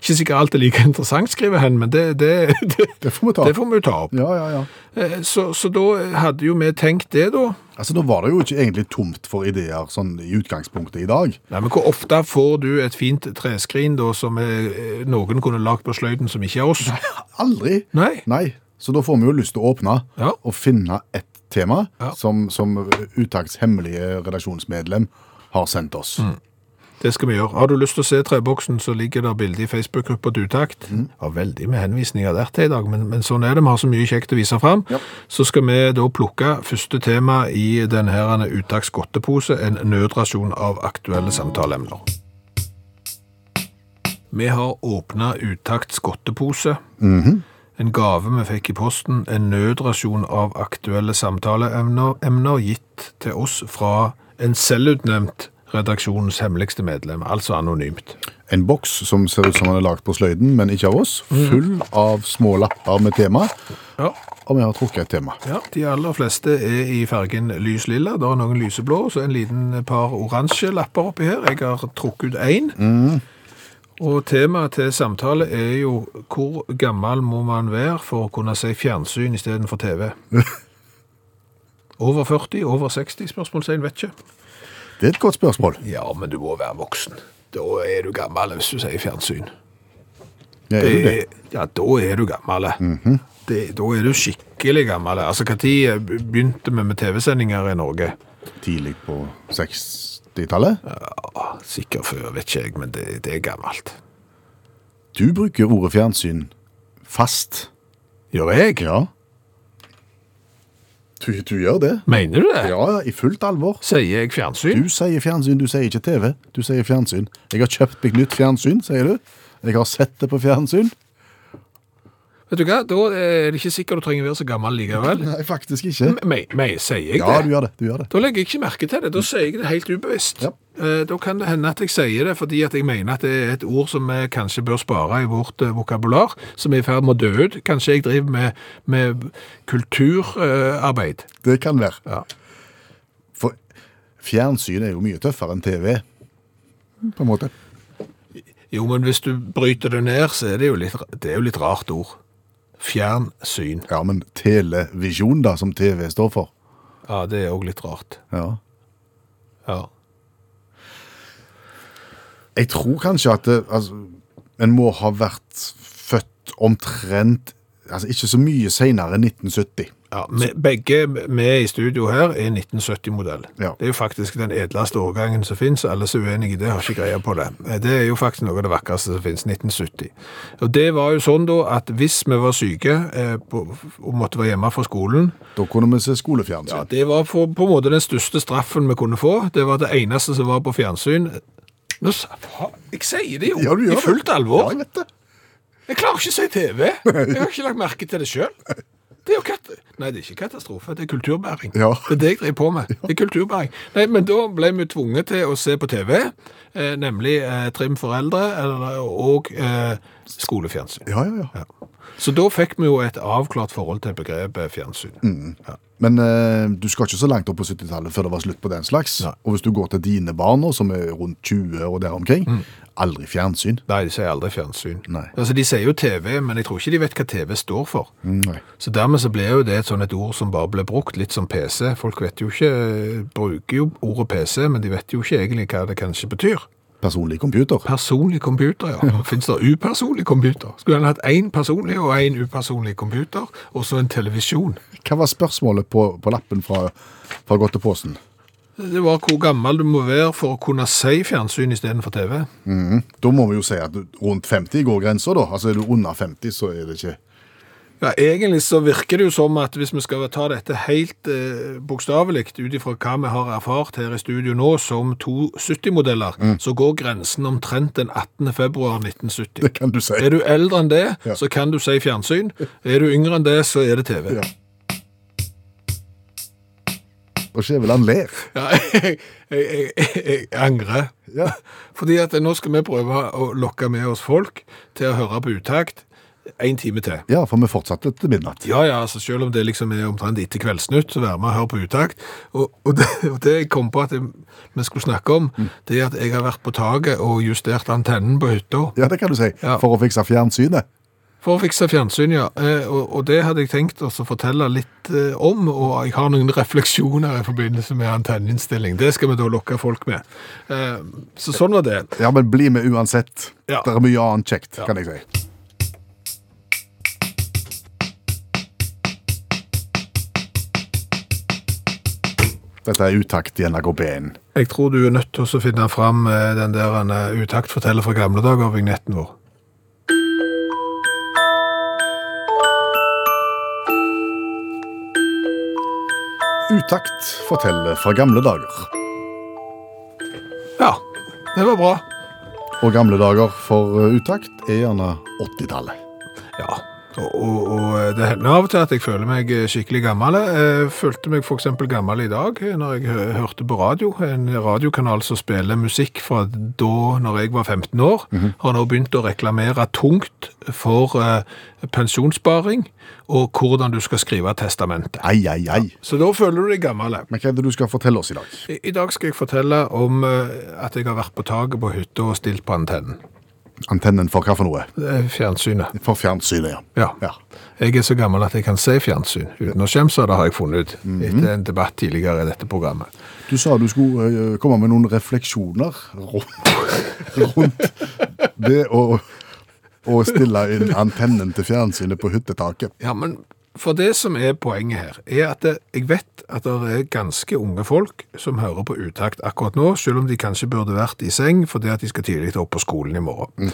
Speaker 2: Ikke sikkert alt er like interessant, skriver hen, men det, det, det,
Speaker 3: Det får vi ta.
Speaker 2: det får vi jo ta opp.
Speaker 3: Ja, ja, ja.
Speaker 2: Eh, Så, så da hadde jo vi tenkt det, da.
Speaker 3: Altså, Da var det jo ikke egentlig tomt for ideer sånn i utgangspunktet i dag.
Speaker 2: Nei, men Hvor ofte får du et fint treskrin da, som eh, noen kunne lagd på sløyden, som ikke er oss?
Speaker 3: Aldri.
Speaker 2: Nei.
Speaker 3: Så da får vi jo lyst til å åpne
Speaker 2: Ja.
Speaker 3: og finne et tema
Speaker 2: Ja.
Speaker 3: som, som Utakts hemmelige redaksjonsmedlem har sendt oss.
Speaker 2: Mm. Det skal vi gjøre. Har du lyst til å se treboksen, så ligger der bilde i Facebook-gruppa Dutakt. Ja, veldig med henvisninger der til i dag, men, men sånn er det. Vi har så mye kjekt å vise fram. Så skal vi da plukke første tema i denne Utakts godtepose, en nødrasjon av aktuelle samtaleemner. Vi har åpna Utakts godtepose. En gave vi fikk i posten, en nødrasjon av aktuelle samtaleemner emner gitt til oss fra en selvutnevnt redaksjonens hemmeligste medlem, altså anonymt.
Speaker 3: En boks som ser ut som den er lagd på sløyden, men ikke av oss.
Speaker 2: Mm.
Speaker 3: Full av små lapper med tema.
Speaker 2: Ja,
Speaker 3: Og vi har trukket et tema.
Speaker 2: ja. De aller fleste er i fargen lys lilla. Det er noen lyseblå, og så en liten par oransje lapper oppi her. Jeg har trukket ut én. Og temaet til samtale er jo hvor gammel må man være for å kunne si fjernsyn istedenfor TV? Over 40, over 60? Spørsmålstegn, vet ikke.
Speaker 3: Det er et godt spørsmål.
Speaker 2: Ja, men du må være voksen. Da er du gammel hvis du sier fjernsyn.
Speaker 3: Det er jo det. Mhm.
Speaker 2: Det, Eh, ja, da er du gammel. det, da er du skikkelig gammel. Altså, Når begynte vi med TV-sendinger i Norge?
Speaker 3: Tidlig på 60-tallet.
Speaker 2: Ja, Sikkert før, vet ikke jeg, men det, det er gammelt.
Speaker 3: Du bruker ordet fjernsyn fast.
Speaker 2: Gjør jeg?
Speaker 3: Ja. Du, du gjør det?
Speaker 2: Mener du det?
Speaker 3: Ja, i fullt alvor.
Speaker 2: Sier jeg fjernsyn?
Speaker 3: Du sier fjernsyn, du sier ikke TV. Du sier fjernsyn. Jeg har kjøpt meg nytt fjernsyn, sier du. Jeg har sett det på fjernsyn.
Speaker 2: Vet du hva, da er det ikke sikkert du trenger være så gammel likevel.
Speaker 3: Nei, faktisk ikke.
Speaker 2: Men men sier jeg
Speaker 3: Ja,
Speaker 2: det?
Speaker 3: du gjør det. du gjør det.
Speaker 2: Da legger jeg ikke merke til det. Da sier jeg det helt ubevisst.
Speaker 3: Ja.
Speaker 2: Eh, Da kan det hende at jeg sier det fordi at jeg mener at det er et ord som vi kanskje bør spare i vårt eh, vokabular, som er i ferd med å dø ut. Kanskje jeg driver med, med kulturarbeid.
Speaker 3: Det kan være.
Speaker 2: Eh, Ja.
Speaker 3: For fjernsyn er jo mye tøffere enn TV, på en måte.
Speaker 2: Jo, men hvis du bryter det ned, så er det jo litt, det er jo litt rart ord. Fjernsyn.
Speaker 3: Ja, men televisjon, da, som TV står for.
Speaker 2: Ja, det er òg litt rart.
Speaker 3: Ja.
Speaker 2: Ja.
Speaker 3: Jeg tror kanskje at det, altså, en må ha vært født omtrent altså Ikke så mye senere enn 1970.
Speaker 2: Ja, vi, begge vi i studio her er 1970-modell.
Speaker 3: Ja.
Speaker 2: Det er jo faktisk den edleste årgangen som finnes, alle som er uenige i det har ikke greie på det. Eh, Det er jo faktisk noe av det vakreste som finnes, 1970. Og det var jo sånn da at hvis vi var syke eh, på, og måtte være hjemme fra skolen,
Speaker 3: Da kunne vi se
Speaker 2: ja,
Speaker 3: skolefjernsyn.
Speaker 2: det var på, på en måte den største straffen vi kunne få. Det var det eneste som var på fjernsyn. Nå, sa- fa- jeg sier det jo,
Speaker 3: Ja, du gjør
Speaker 2: i fullt
Speaker 3: det.
Speaker 2: alvor.
Speaker 3: Ja, jeg vet det.
Speaker 2: Jeg klarer ikke å si TV. Jeg har ikke lagt merke til det sjøl. Det er jo kat Nei, det er ikke katastrofe, det er kulturbæring.
Speaker 3: Ja.
Speaker 2: Det er det jeg driver på med. Det er kulturbæring. Nei, Men da ble vi tvunget til å se på TV, eh, nemlig eh, Trim foreldre eller, og eh, skolefjernsyn.
Speaker 3: Ja, ja, ja.
Speaker 2: Så da fikk vi jo et avklart forhold til begrepet fjernsyn.
Speaker 3: Mm. Men eh, du skal ikke så langt opp på 70-tallet før det var slutt på den slags.
Speaker 2: Nei.
Speaker 3: Og hvis du går til dine barn nå, som er rundt 20 og der omkring,
Speaker 2: Mm.
Speaker 3: aldri fjernsyn.
Speaker 2: Nei, de sier aldri fjernsyn.
Speaker 3: Nei.
Speaker 2: Altså, De sier jo TV, men jeg tror ikke de vet hva TV står for.
Speaker 3: Nei.
Speaker 2: Så dermed så ble jo det et sånn et ord som bare ble brukt, litt som PC. Folk vet jo ikke, eh, bruker jo ordet PC, men de vet jo ikke egentlig hva det kanskje betyr.
Speaker 3: Personlig computer.
Speaker 2: Personlig computer, ja. Finnes det upersonlig computer? Skulle han hatt én personlig og én upersonlig computer, og så en televisjon?
Speaker 3: Hva var spørsmålet på, på lappen fra, fra Godteposen?
Speaker 2: Det var hvor gammel du må være for å kunne si fjernsyn istedenfor TV.
Speaker 3: Da må vi jo si at rundt 50 går grensa, da. Altså er du under 50, så er det ikke
Speaker 2: Ja, Egentlig så virker det jo som at hvis vi skal ta dette helt eh, bokstavelig ut ifra hva vi har erfart her i studio nå som to 70-modeller,
Speaker 3: Mm.
Speaker 2: så går grensen omtrent den 18. februar 1970.
Speaker 3: Det kan du si.
Speaker 2: Er du eldre enn det,
Speaker 3: Ja.
Speaker 2: så kan du si fjernsyn. Er du yngre enn det, så er det TV.
Speaker 3: Ja. Og Skjæveland ler.
Speaker 2: Ja, jeg, jeg, jeg, jeg angrer.
Speaker 3: Ja.
Speaker 2: Fordi at nå skal vi prøve å lokke med oss folk til å høre på utakt en time til.
Speaker 3: ja, for vi fortsatte til midnatt.
Speaker 2: Ja, ja, altså selv om det liksom er omtrent etter Kveldsnytt, så vær med og hør på utakt. Og, og, det, og det jeg kom på at jeg- vi skulle snakke om, det er at jeg har vært på taket og justert antennen på hytta.
Speaker 3: Ja, det kan du si.
Speaker 2: Ja.
Speaker 3: For å fikse fjernsynet.
Speaker 2: For å fikse fjernsyn, ja. Eh, Og, og det hadde jeg tenkt også å fortelle litt eh, om, og jeg har noen refleksjoner i forbindelse med antenneinnstilling. Det skal vi da lokke folk med. Eh, Så sånn var det.
Speaker 3: Ja, men bli med uansett.
Speaker 2: Ja.
Speaker 3: Det er mye annet kjekt, kan jeg si. Dette er utakt i NRK P1.
Speaker 2: Jeg tror du er nødt til å finne fram eh, den der eh, utaktforteller fra gamle dager, vignetten vår.
Speaker 3: Utakt forteller fra gamle dager.
Speaker 2: Ja, det var bra.
Speaker 3: Og gamle dager for eh, utakt er gjerne 80-tallet.
Speaker 2: Ja, og, og, og det hender av og til at jeg føler meg skikkelig gammel. Jeg følte meg f.eks. gammel i dag når jeg hø- hørte på radio. En radiokanal som spiller musikk fra da når jeg var 15 år, har nå begynt å reklamere tungt for eh, pensjonssparing og hvordan du skal skrive testamentet.
Speaker 3: Ai, ai, ai.
Speaker 2: Så da føler du deg gammel.
Speaker 3: Men hva er det du skal fortelle oss i dag?
Speaker 2: I, I dag skal jeg fortelle om eh, at jeg har vært på taket på hytta og stilt på antennen.
Speaker 3: Antennen for hva for noe?
Speaker 2: Det er Fjernsynet.
Speaker 3: For fjernsynet, ja.
Speaker 2: Ja.
Speaker 3: Ja.
Speaker 2: Jeg er så gammel at jeg kan se fjernsyn uten å skjemse, det har jeg funnet ut etter en debatt tidligere i dette programmet.
Speaker 3: Du sa du skulle eh, komme med noen refleksjoner rundt, rundt det å, å stille inn antennen til fjernsynet på hyttetaket.
Speaker 2: Ja, men for det som er poenget her, er at det, jeg vet at det er ganske unge folk som hører på utakt akkurat nå, selv om de kanskje burde vært i seng fordi at de skal tidlig opp på skolen i morgen.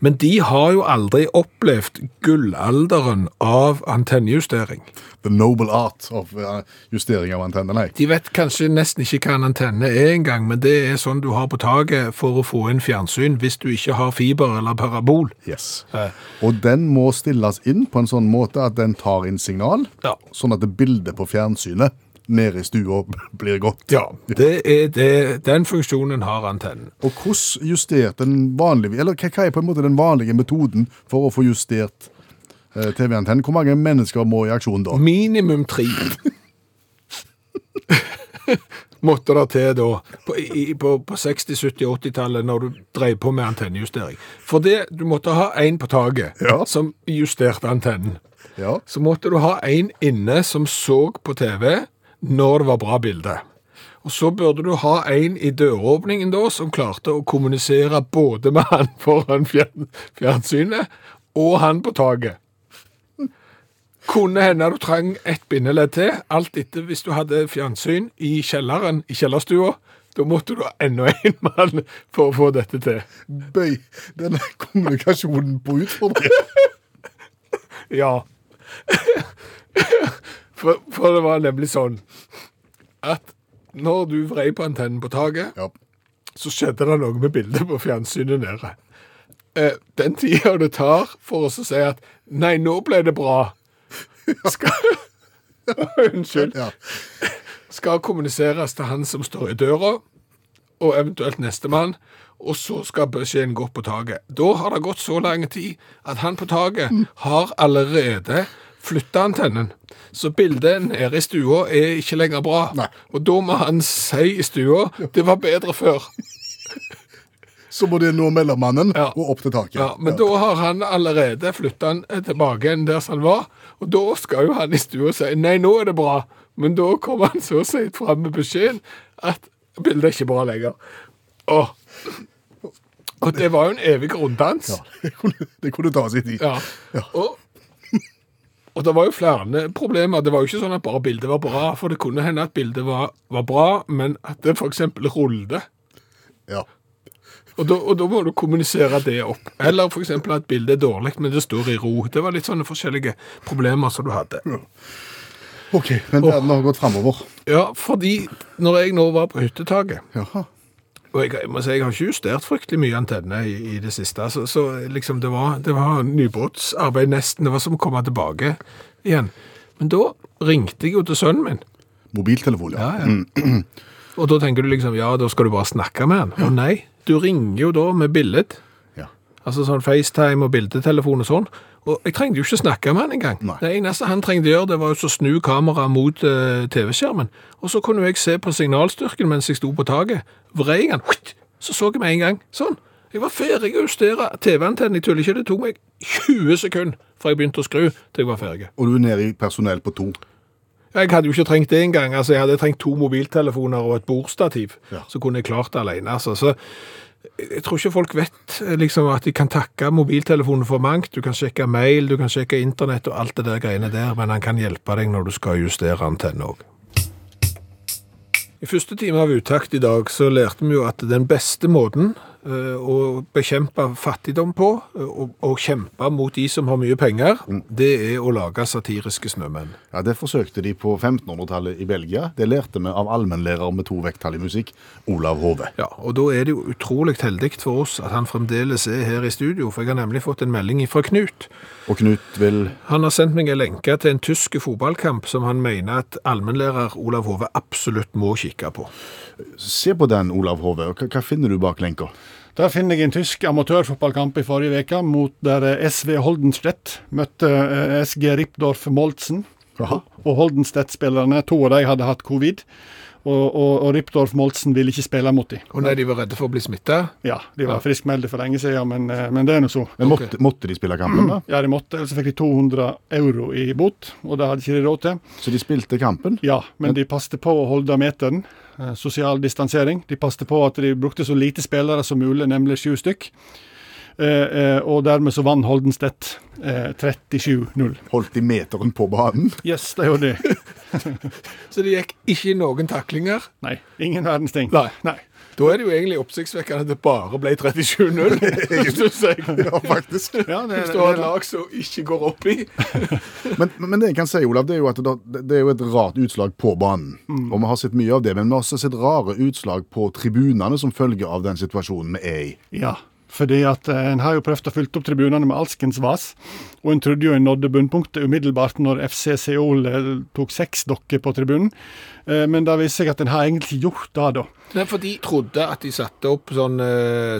Speaker 2: Men de har jo aldri opplevd gullalderen av antennejustering.
Speaker 3: The noble art of eh, justering av antennen, nei.
Speaker 2: De vet kanskje nesten ikke hva en antenne er engang, men det er sånn du har på taket for å få inn fjernsyn hvis du ikke har fiber eller parabol.
Speaker 3: Yes.
Speaker 2: Eh.
Speaker 3: Og den må stilles inn på en sånn måte at den tar inn signal,
Speaker 2: Ja.
Speaker 3: sånn at det bildet på fjernsynet nede i stua blir godt.
Speaker 2: Ja, det er det, den funksjonen har antennen.
Speaker 3: Og hvordan justerte den vanlige, eller hva hva er på en måte den vanlige metoden for å få justert eh, TV-antennen? Hvor mange mennesker må i aksjon
Speaker 2: Mm.
Speaker 3: da?
Speaker 2: Minimum tre. Måtte det til da, på, i, på, på 60-, 70-, 80-tallet, når du drev på med antennejustering. For det, du måtte ha én på taket
Speaker 3: Ja.
Speaker 2: som justerte antennen.
Speaker 3: Ja.
Speaker 2: Så måtte du ha én inne som så på TV når det var bra bilde. Og så burde du ha en i døråpningen da, som klarte å kommunisere både med han foran fjern, fjernsynet og han på taket. Kunne hende du trang ett bindeledd til, alt etter hvis du hadde fjernsyn i kjelleren, i kjellerstua. Da måtte du ha enda en mann for å få dette til.
Speaker 3: Bøy denne kommunikasjonen på utfordring.
Speaker 2: Ja. For, for det var nemlig sånn at når du vrei på antennen på taket,
Speaker 3: Ja.
Speaker 2: så skjedde det noe med bildet på fjernsynet nede. Eh, Den tida det tar for oss å si at 'nei, nå ble det bra', skal Unnskyld.
Speaker 3: Ja.
Speaker 2: Skal kommuniseres til han som står i døra, og eventuelt nestemann, og så skal beskjeden gå på taket. Da har det gått så lang tid at han på taket har allerede flytta antennen. Så bildet nede i stua er ikke lenger bra.
Speaker 3: Nei.
Speaker 2: Og da må han si i stua 'det var bedre før'.
Speaker 3: Så må det nå mellommannen
Speaker 2: Ja.
Speaker 3: og opp til taket.
Speaker 2: Ja, Men da har han allerede flytta han eh, tilbake igjen der som han var, og da skal jo han i stua si 'nei, nå er det bra', men da kommer han så seint fram med beskjeden at bildet er ikke bra lenger. Åh. Og det var jo en evig runddans.
Speaker 3: Ja, Det, kunne, det kunne ta sin tid.
Speaker 2: Ja. Og, og det var jo flere problemer. Det var jo ikke sånn at bare bildet var bra, for det kunne hende at bildet var, var bra, men at det f.eks. rullet.
Speaker 3: Ja.
Speaker 2: Og da, og da må du kommunisere det opp. Eller f.eks. at bildet er dårlig, men det står i ro. Det var litt sånne forskjellige problemer som du hadde.
Speaker 3: OK, men verden har gått framover.
Speaker 2: Ja, fordi når jeg nå var på hyttetaket
Speaker 3: Jaha.
Speaker 2: Og jeg, jeg må si, jeg har ikke justert fryktelig mye antenne i, i det siste. Så, så liksom det var, det var nybrottsarbeid nesten. Det var som å komme tilbake igjen. Men da ringte jeg jo til sønnen min.
Speaker 3: Mobiltelefon, ja.
Speaker 2: Og da tenker du liksom ja, da skal du bare snakke med han. Og nei, du ringer jo da med billed.
Speaker 3: ja.
Speaker 2: Altså sånn FaceTime og bildetelefon og sånn. Og jeg trengte jo ikke snakke med han engang.
Speaker 3: Nei.
Speaker 2: Det eneste han trengte gjøre, det var jo så snu kameraet mot eh, TV-skjermen. Og så kunne jo jeg se på signalstyrken mens jeg sto på taket. Vrei han, hutt, så så jeg med en gang. Sånn. Jeg var ferdig å justere TV-antennen, jeg tuller ikke. Det tok meg 20 sekunder fra jeg begynte å skru til jeg var ferdig.
Speaker 3: Og du er nede i personell på to.
Speaker 2: Jeg hadde jo ikke trengt det engang. Altså, jeg hadde trengt to mobiltelefoner og et bordstativ.
Speaker 3: Ja.
Speaker 2: Så kunne jeg klart det alene. Altså. Så jeg tror ikke folk vet eh, liksom, at de kan takke mobiltelefonen for mangt. Du kan sjekke mail, du kan sjekke internett og alt det der greiene der, men han kan hjelpe deg når du skal justere antennen òg. I første time av Utakt i dag så lærte vi jo at den beste måten eh, å bekjempe fattigdom på, eh, og, og kjempe mot de som har mye penger, det er å lage satiriske snømenn.
Speaker 3: Ja, Det forsøkte de på 1500-tallet i Belgia. Det lærte vi av allmennlærer med to vekttall i musikk, Olav Hove.
Speaker 2: Ja, og da er det jo utrolig heldig for oss at han fremdeles er her i studio, for jeg har nemlig fått en melding fra Knut.
Speaker 3: Og Knut vil
Speaker 2: Han har sendt meg en lenke til en tysk fotballkamp som han mener at allmennlærer Olav Hove absolutt må kikke på.
Speaker 3: se på den, Olav Hove. og Hva, hva finner du bak lenka?
Speaker 5: Der finner jeg en tysk amatørfotballkamp i forrige uke, mot der eh, SV Holdenstedt møtte eh, SG Ripdorf Moltzen.
Speaker 3: Jaha.
Speaker 5: Og Holdenstedt-spillerne, to av de hadde hatt covid. Og, og, og Ripdorf Moltsen ville ikke spille mot dem.
Speaker 2: Og nei, de var redde for å bli smitta?
Speaker 5: Ja, de var friskmeldte for lenge siden, men, eh, men det er nå så.
Speaker 3: Men måtte, måtte de spille kampen, da?
Speaker 5: Ja, de måtte, ellers fikk de 200 euro i bot, og det hadde ikke de råd til.
Speaker 3: Så de spilte kampen?
Speaker 5: Ja, men de passte på å holde meteren. eh, Sosial distansering. De passte på at de brukte så lite spillere som mulig, nemlig sju stykk. Eh, eh, og dermed så vant Holdenstedt eh, 37-0.
Speaker 3: Holdt de meteren på banen?
Speaker 5: Yes, det gjorde de.
Speaker 2: Så det gikk ikke noen taklinger?
Speaker 5: Nei, ingen verdens ting.
Speaker 2: Nei.
Speaker 5: Nei.
Speaker 2: Da er det jo egentlig oppsiktsvekkende at det bare ble 37-0, synes jeg.
Speaker 3: Ja, faktisk.
Speaker 5: Ja, det,
Speaker 2: Hvis
Speaker 5: det,
Speaker 2: du har et
Speaker 5: det,
Speaker 2: lag som ikke går opp i.
Speaker 3: Men, men det jeg kan si, Olav, det er jo at det, det er jo et rart utslag på banen. Og vi har sett mye av det, men vi har også sett rare utslag på tribunene som følge av den situasjonen vi er i.
Speaker 5: ja, fordi at eh, en har jo prøvd å fylle opp tribunene med alskens vas, og en trodde jo en nådde bunnpunktet umiddelbart når FC Seoul eh, tok seks dokker på tribunen, eh, men det viser seg at en har egentlig ikke gjort det, da.
Speaker 2: Nei, for de trodde at de satte opp sånne,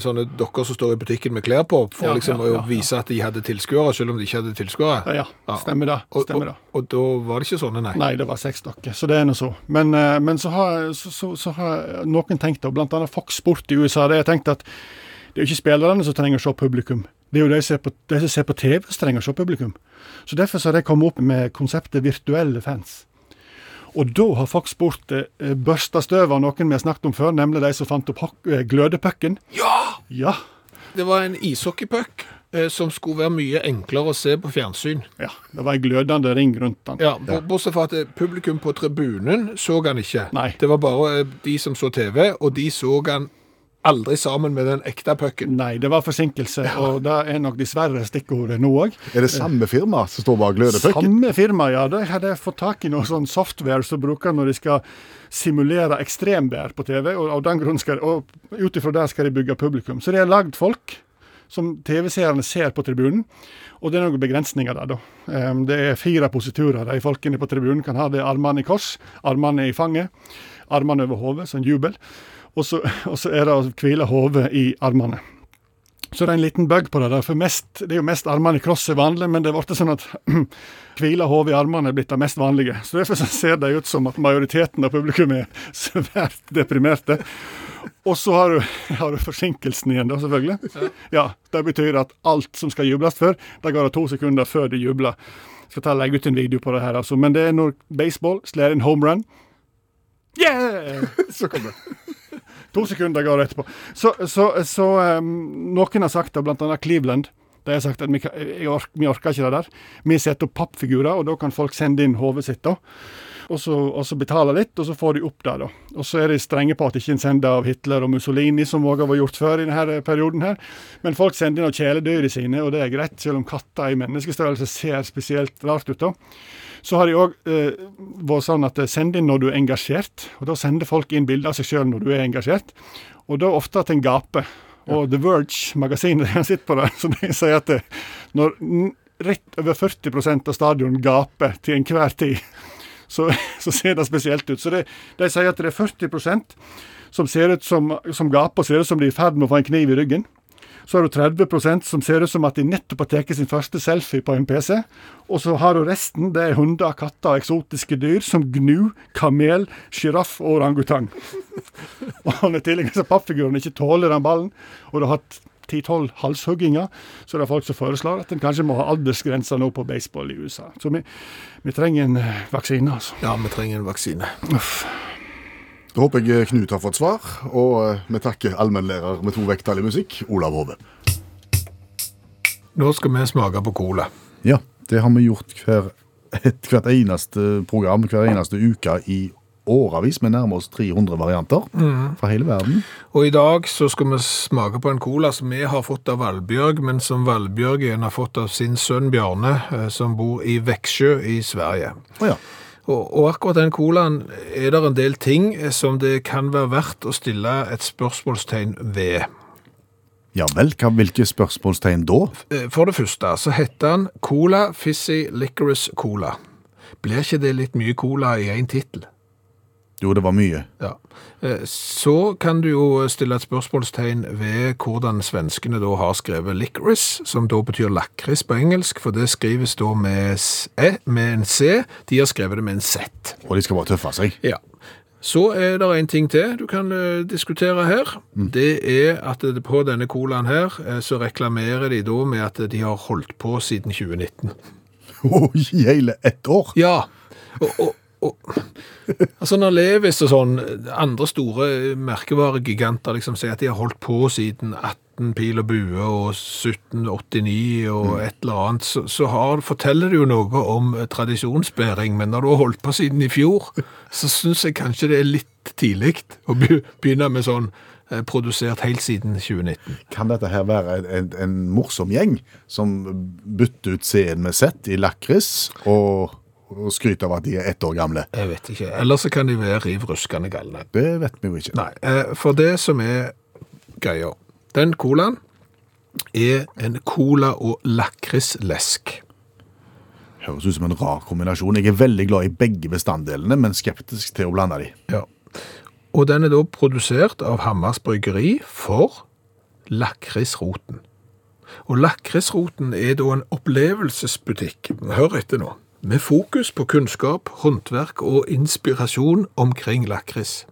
Speaker 2: sånne dokker som står i butikken med klær på, for
Speaker 5: Ja,
Speaker 2: liksom
Speaker 5: ja, ja,
Speaker 2: å
Speaker 5: ja.
Speaker 2: vise at de hadde tilskuere, selv om de ikke hadde tilskuere.
Speaker 5: Ja, ja, stemmer det.
Speaker 2: Og, og,
Speaker 5: Stemmer det.
Speaker 2: og da var det ikke sånne, nei.
Speaker 5: Nei, det var seks dokker, så det er nå så. Men, eh, men så, har, så, så, så har noen tenkt, og bl.a. Fox Sport i USA, de har tenkt at det er jo ikke spillerne som trenger å se publikum. Det er jo de som ser på, de som ser på TV som trenger å se publikum. Så derfor så har de kommet opp med konseptet virtuelle fans. Og da har Fox Sport eh, børsta støv av noen vi har snakket om før, nemlig de som fant opp hok- eh, glødepucken.
Speaker 2: Ja!
Speaker 5: Ja,
Speaker 2: Det var en ishockeypuck eh, som skulle være mye enklere å se på fjernsyn.
Speaker 5: ja, det var en glødende ring rundt den.
Speaker 2: Ja, b- Bortsett fra at eh, publikum på tribunen så han ikke.
Speaker 5: Nei.
Speaker 2: Det var bare eh, de som så TV, og de så han aldri sammen med den ekte pucken.
Speaker 5: Nei, det var forsinkelse, og det er nok dessverre stikkordet nå òg.
Speaker 3: Er det samme firma som står bak glødepucken?
Speaker 5: Samme firma, ja. De hadde fått tak i noe sånn software som bruker når de skal simulere ekstremvær på TV, og, av den grunn skal, og ut ifra der skal de bygge publikum. Så de har lagd folk som TV-seerne ser på tribunen, og det er noen begrensninger der, da. Ehm, det er fire positurer de folkene på tribunen kan ha. Det er armene i kors, armene i fanget, armene over hodet, sånn jubel, og så, og så er det å hvile hodet i armene. Så det er en liten bug på det. der, for mest, Det er jo mest armene i kross er vanlig, men det er blitt sånn at hvile hodet i armene er blitt det mest vanlige. Så Derfor så ser det ut som at majoriteten av publikum er svært deprimerte. Og så har du, har du forsinkelsen igjen, da, selvfølgelig. Ja, Det betyr at alt som skal jubles for, det går det to sekunder før de jubler. Skal ta og legge ut en video på det her, altså. Men det er når baseball slår en home run. Yeah! Så kommer det. To sekunder går det etterpå. Så, så, så um, noen har sagt det, bl.a. Cleveland. De har sagt at vi, kan- jeg ork, vi orker ikke det der. Vi setter opp pappfigurer, og da kan folk sende inn hodet sitt. da. Og så, og så betaler litt, og så får de opp det. da. Og så er de strenge på at ikke en sender av Hitler og Mussolini, som også har vært gjort før i denne perioden her. Men folk sender inn av kjæledyra sine, og det er greit, selv om katter i menneskestørrelse ser spesielt rart ut. da. Så har de òg eh, vært sånn at eh, send inn når du er engasjert. Og da sender folk inn bilder av seg sjøl når du er engasjert. Og da ofte at en gaper. Og The Verge, magasinet jeg sitter på der, så de sier at eh, når n- rett over 40 av stadion gaper til enhver tid, så, så ser det spesielt ut. Så det, de sier at det er 40 som ser ut som, som gaper, og ser ut som de er i ferd med å få en kniv i ryggen. Så har du 30 som ser ut som at de nettopp har tatt sin første selfie på en PC. Og så har du resten, det er hunder, katter og eksotiske dyr som gnu, kamel, sjiraff og orangutang. Og når i tillegg så pappfiguren ikke tåler den ballen, og du har hatt 10-12 halshugginger, så er det folk som foreslår at en kanskje må ha aldersgrense nå på baseball i USA. Så vi, vi trenger en eh, vaksine, altså.
Speaker 2: Ja, vi trenger en vaksine.
Speaker 3: Da håper jeg eh, Knut har fått svar, og eh, vi takker allmennlærer med to vekttall i musikk, Olav Hove.
Speaker 2: Nå skal vi smake på cola.
Speaker 3: Ja, det har vi gjort hver, et, hvert eneste program, hver eneste uke i åravis. Vi nærmer oss 300 varianter fra hele verden.
Speaker 2: Og i dag så skal vi smake på en cola som vi har fått av Valbjørg, men som Valbjørg igjen har fått av sin sønn Bjarne, eh, som bor i Veksjø i Sverige.
Speaker 3: Å ja.
Speaker 2: Og, og akkurat den colaen er det en del ting eh, som det kan være verdt å stille et spørsmålstegn ved.
Speaker 3: Ja vel, hva, hvilke spørsmålstegn da?
Speaker 2: Eh, For det første så heter han Cola Fizzy Licorice Cola. Blir ikke det litt mye cola i én tittel?
Speaker 3: Jo, det var mye.
Speaker 2: Ja. Eh, Så kan du jo stille et spørsmålstegn ved hvordan svenskene da har skrevet licorice, som da betyr lakris på engelsk, for det skrives da med, s- e, med en C. De har skrevet det med en Z.
Speaker 3: Og de skal bare tøffe seg.
Speaker 2: Ja. Så er det en ting til du kan eh, diskutere her. Det er at det- på denne colaen her, eh, så reklamerer de da med at de har holdt på siden 2019.
Speaker 3: Og i hele ett år.
Speaker 2: Ja. Og, og, og, altså når Levis og sånn, andre store merkevaregiganter liksom sier at de har holdt på siden 18 pil og bue og 1789 og et eller annet, så, så har, forteller det jo noe om eh, tradisjonsbæring, men når du har holdt på siden i fjor, så synes jeg kanskje det er litt tidlig å be- begynne med sånn eh, produsert helt siden 2019.
Speaker 3: Kan dette her være en, en, en morsom gjeng som bytter ut C-en med Z i lakris, og, og skryter av at de er ett år gamle?
Speaker 2: Jeg vet ikke. Ellers så kan de være riv ruskende galne.
Speaker 3: Det vet vi jo ikke.
Speaker 2: Nei, eh, for det som er greia, den colaen er en cola- og lakrislesk.
Speaker 3: Høres ut som en rar kombinasjon. Jeg er veldig glad i begge bestanddelene, men skeptisk til å blande de.
Speaker 2: Ja. Og den er da produsert av Hammers Bryggeri for lakrisroten. Og lakrisroten er da en opplevelsesbutikk, hør etter nå, med fokus på kunnskap, håndverk og inspirasjon omkring lakris.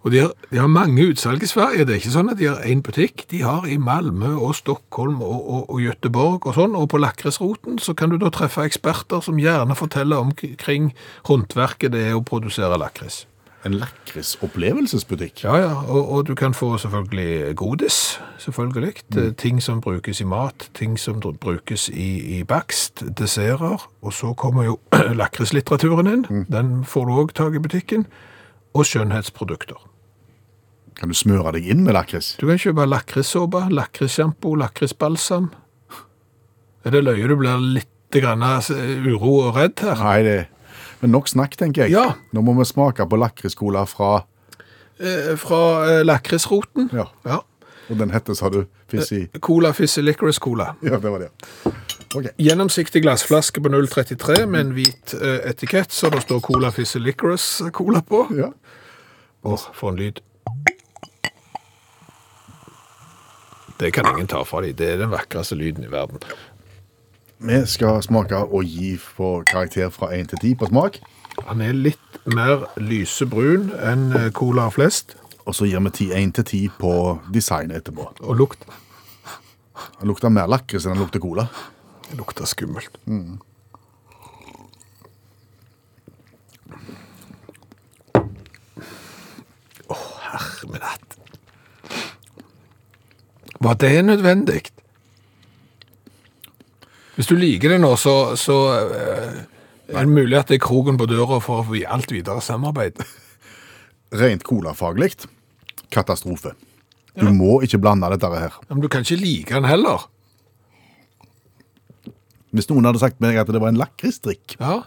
Speaker 2: Og de har, de har mange utsalg i Sverige, det er ikke sånn at de har én butikk. De har i Malmø og Stockholm og, og, og Gøteborg og sånn, og på lakrisroten så kan du da treffe eksperter som gjerne forteller omkring håndverket det er å produsere lakris.
Speaker 3: En lakrisopplevelsesbutikk.
Speaker 2: Ja, ja, og, og du kan få selvfølgelig godis, selvfølgelig. Eh, Ting som brukes i mat, ting som dr- brukes i, i bakst, desserter, og så kommer jo lakrislitteraturen inn, den får du også tak i butikken, og skjønnhetsprodukter.
Speaker 3: Kan du smøre deg inn med lakris?
Speaker 2: Du kan kjøpe lakrissåpe, lakrissjampo, lakrissbalsam. Er det løye du blir litt grann eh, uro og redd her?
Speaker 3: Nei, det Men nok snakk, tenker jeg.
Speaker 2: Ja.
Speaker 3: Nå må vi smake på lakriskola fra
Speaker 2: Eh, Fra eh, lakrisroten?
Speaker 3: Ja.
Speaker 2: Ja.
Speaker 3: Og den heter, sa du, Fissi?
Speaker 2: Cola Fizzy Licorice Cola.
Speaker 3: Ja, det var det. Ok.
Speaker 2: Gjennomsiktig glassflaske på 0,33 med en hvit eh, etikett, så det står Cola Fizzy Licorice eh, Cola på.
Speaker 3: Ja.
Speaker 2: Åh, for en lyd. Det kan ingen ta fra dem. Det er den vakreste lyden i verden.
Speaker 3: Vi skal smake og gi på karakter fra 1 til 10 på smak.
Speaker 2: Han er litt mer lysebrun enn eh, cola flest,
Speaker 3: Og så gir vi 10, 1 til 10 på design etterpå.
Speaker 2: og lukt.
Speaker 3: Den lukter mer lakris enn den lukter cola.
Speaker 2: Det lukter skummelt. Mm. Å, herre min hatt. Var det nødvendig? Hvis du liker det nå, så, så eh, er det mulig at det er kroken på døra for å få alt videre samarbeid.
Speaker 3: Rent colafaglig katastrofe. Du må ikke blande dette her.
Speaker 2: Men du kan ikke like den heller.
Speaker 3: Hvis noen hadde sagt meg at det var en lakrisdrikk
Speaker 2: Ja.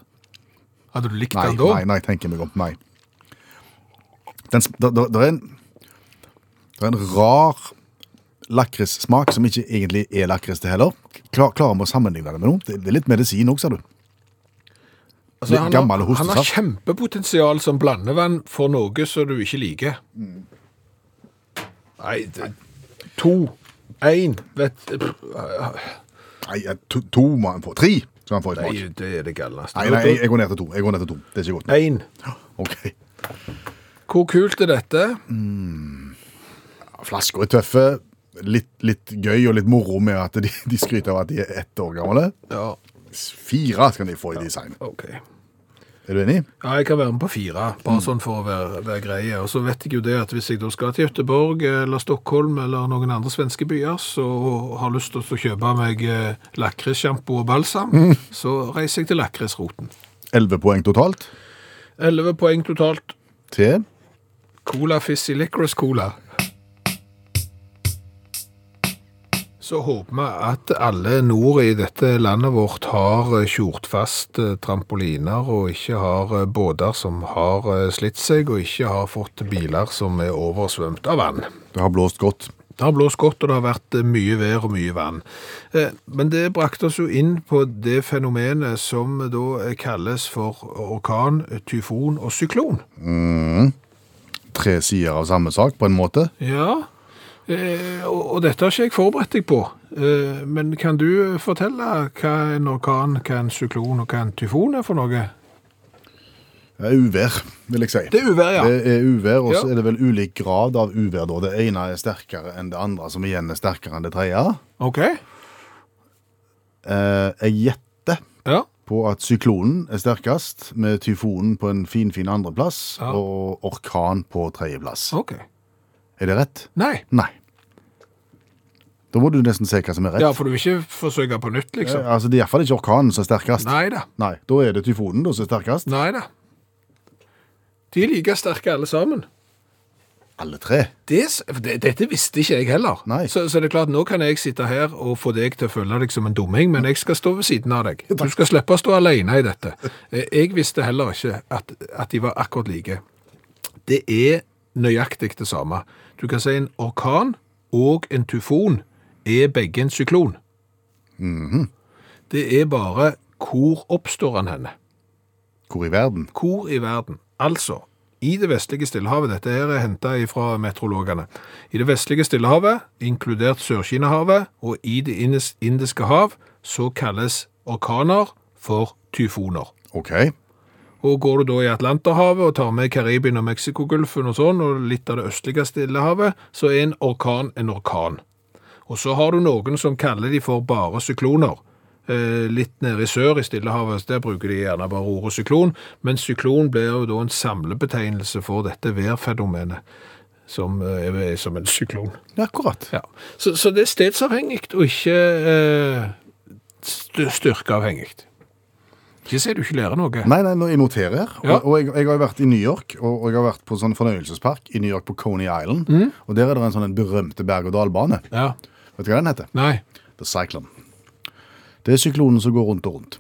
Speaker 2: Hadde du likt
Speaker 3: Nei,
Speaker 2: den da?
Speaker 3: nei, nei, tenker meg om. Nei. Den, sm- da, da, det, er en, det er en rar lakrissmak som ikke egentlig er lakris, det heller. Klar, klarer vi å sammenligne det med noe? Det, det er litt medisin òg, ser du.
Speaker 2: Altså,
Speaker 3: Litt
Speaker 2: han, har, han
Speaker 3: gammel
Speaker 2: har
Speaker 3: hostesaft.
Speaker 2: kjempepotensial som blandevann for noe som du ikke liker. Nei, det, to, én vet,
Speaker 3: Nei, jeg- to, to må han få. Tre skal han få i
Speaker 2: Nei,
Speaker 3: smak.
Speaker 2: det er det galneste.
Speaker 3: Nei, nei, jeg, jeg går ned til to. Jeg går ned til to. Det er ikke godt. nok.
Speaker 2: Én.
Speaker 3: Ok.
Speaker 2: Hvor kult er dette?
Speaker 3: Flasker er tøffe. Litt, litt gøy og litt moro med at de, de skryter av at de er ett år gamle.
Speaker 2: Ja,
Speaker 3: Fire skal de få i design.
Speaker 2: OK.
Speaker 3: Er du enig?
Speaker 2: Ja, jeg kan være med på fire, bare sånn for å være, være greie. Og så vet jeg jo det at hvis jeg da skal til Göteborg eller Stockholm eller noen andre svenske byer, så har lyst til å kjøpe meg eh, lakrissjampo og balsam,
Speaker 3: Mm.
Speaker 2: så reiser jeg til lakrisroten.
Speaker 3: Elleve poeng totalt
Speaker 2: Elleve poeng totalt.
Speaker 3: til
Speaker 2: Cola Fizzy Licorice Cola. Så håper vi at alle nord i dette landet vårt har eh, kjort fast eh, trampoliner, og ikke har eh, båter som har eh, slitt seg, og ikke har fått biler som er oversvømt av vann.
Speaker 3: Det har blåst godt.
Speaker 2: Det har blåst godt, og det har vært eh, mye vær og mye vann. Eh, Men det brakte oss jo inn på det fenomenet som da eh, kalles for orkan, tyfon og syklon.
Speaker 3: Tre sider av samme sak, på en måte.
Speaker 2: Ja, eh, og, og dette har ikke jeg forberedt deg på. Eh, men kan du fortelle hva en orkan, hva en syklon og hva en tyfon er for noe?
Speaker 3: Det er uvær, vil jeg si.
Speaker 2: Det er uvær, ja.
Speaker 3: Det er uvær, og så
Speaker 2: Ja.
Speaker 3: er det vel ulik grad av uvær. da. Det ene er sterkere enn det andre, som igjen er sterkere enn det tredje.
Speaker 2: Ok,
Speaker 3: Eh, Jeg gjetter
Speaker 2: ja.
Speaker 3: på at syklonen er sterkest, med tyfonen på en finfin andreplass
Speaker 2: Ja.
Speaker 3: og orkan på tredjeplass.
Speaker 2: Ok.
Speaker 3: Er det rett?
Speaker 2: Nei.
Speaker 3: Nei. Da må du nesten se hva som er rett.
Speaker 2: Ja, for du vil ikke forsøke på nytt, liksom.
Speaker 3: Eh, Altså, Det er iallfall ikke orkanen som er sterkest.
Speaker 2: Nei da.
Speaker 3: Nei, Da er det tyfonen da som er sterkest.
Speaker 2: Nei da. De er like sterke alle sammen.
Speaker 3: Alle tre.
Speaker 2: Det, s- det, dette visste ikke jeg heller.
Speaker 3: Nei.
Speaker 2: Så, så det er klart, nå kan jeg sitte her og få deg til å føle deg som en dumming, men jeg skal stå ved siden av deg. Du skal slippe å stå alene i dette. Eh, Jeg visste heller ikke at, at de var akkurat like. Det er nøyaktig det samme. Du kan si en orkan og en tyfon er begge en syklon. Det er bare hvor oppstår han henne?
Speaker 3: Hvor i verden?
Speaker 2: Hvor i verden? Altså, i det vestlige Stillehavet, dette her er hentet fra meteorologene, i det vestlige Stillehavet, inkludert Sør-Kinahavet, og i det indes- indiske hav, så kalles orkaner for tyfoner.
Speaker 3: OK.
Speaker 2: Og går du da i Atlanterhavet og tar med Karibien og Mexikogulfen og sånn, og litt av det østlige Stillehavet, så er en orkan en orkan. Og så har du noen som kaller de for bare sykloner. Eh, litt nede i sør i Stillehavet, der bruker de gjerne bare ordet syklon, men syklon blir jo da en samlebetegnelse for dette værfenomenet, som eh, er som en syklon.
Speaker 3: Ja, akkurat.
Speaker 2: Ja. Så, så det er stedsavhengig, og ikke eh, styr- styrkeavhengig. Ikke si du ikke lærer noe.
Speaker 3: Nei, nei, nå, jeg noterer her.
Speaker 2: Ja.
Speaker 3: Og, og jeg, jeg har jo vært i New York, og, og jeg har vært på sånn fornøyelsespark i New York på Coney Island. Og der er det en sånn en berømte berg-og-dal-bane.
Speaker 2: Mm. Ja.
Speaker 3: Vet du hva den heter?
Speaker 2: Nei.
Speaker 3: The Cyclone. Det er syklonen som går rundt og rundt.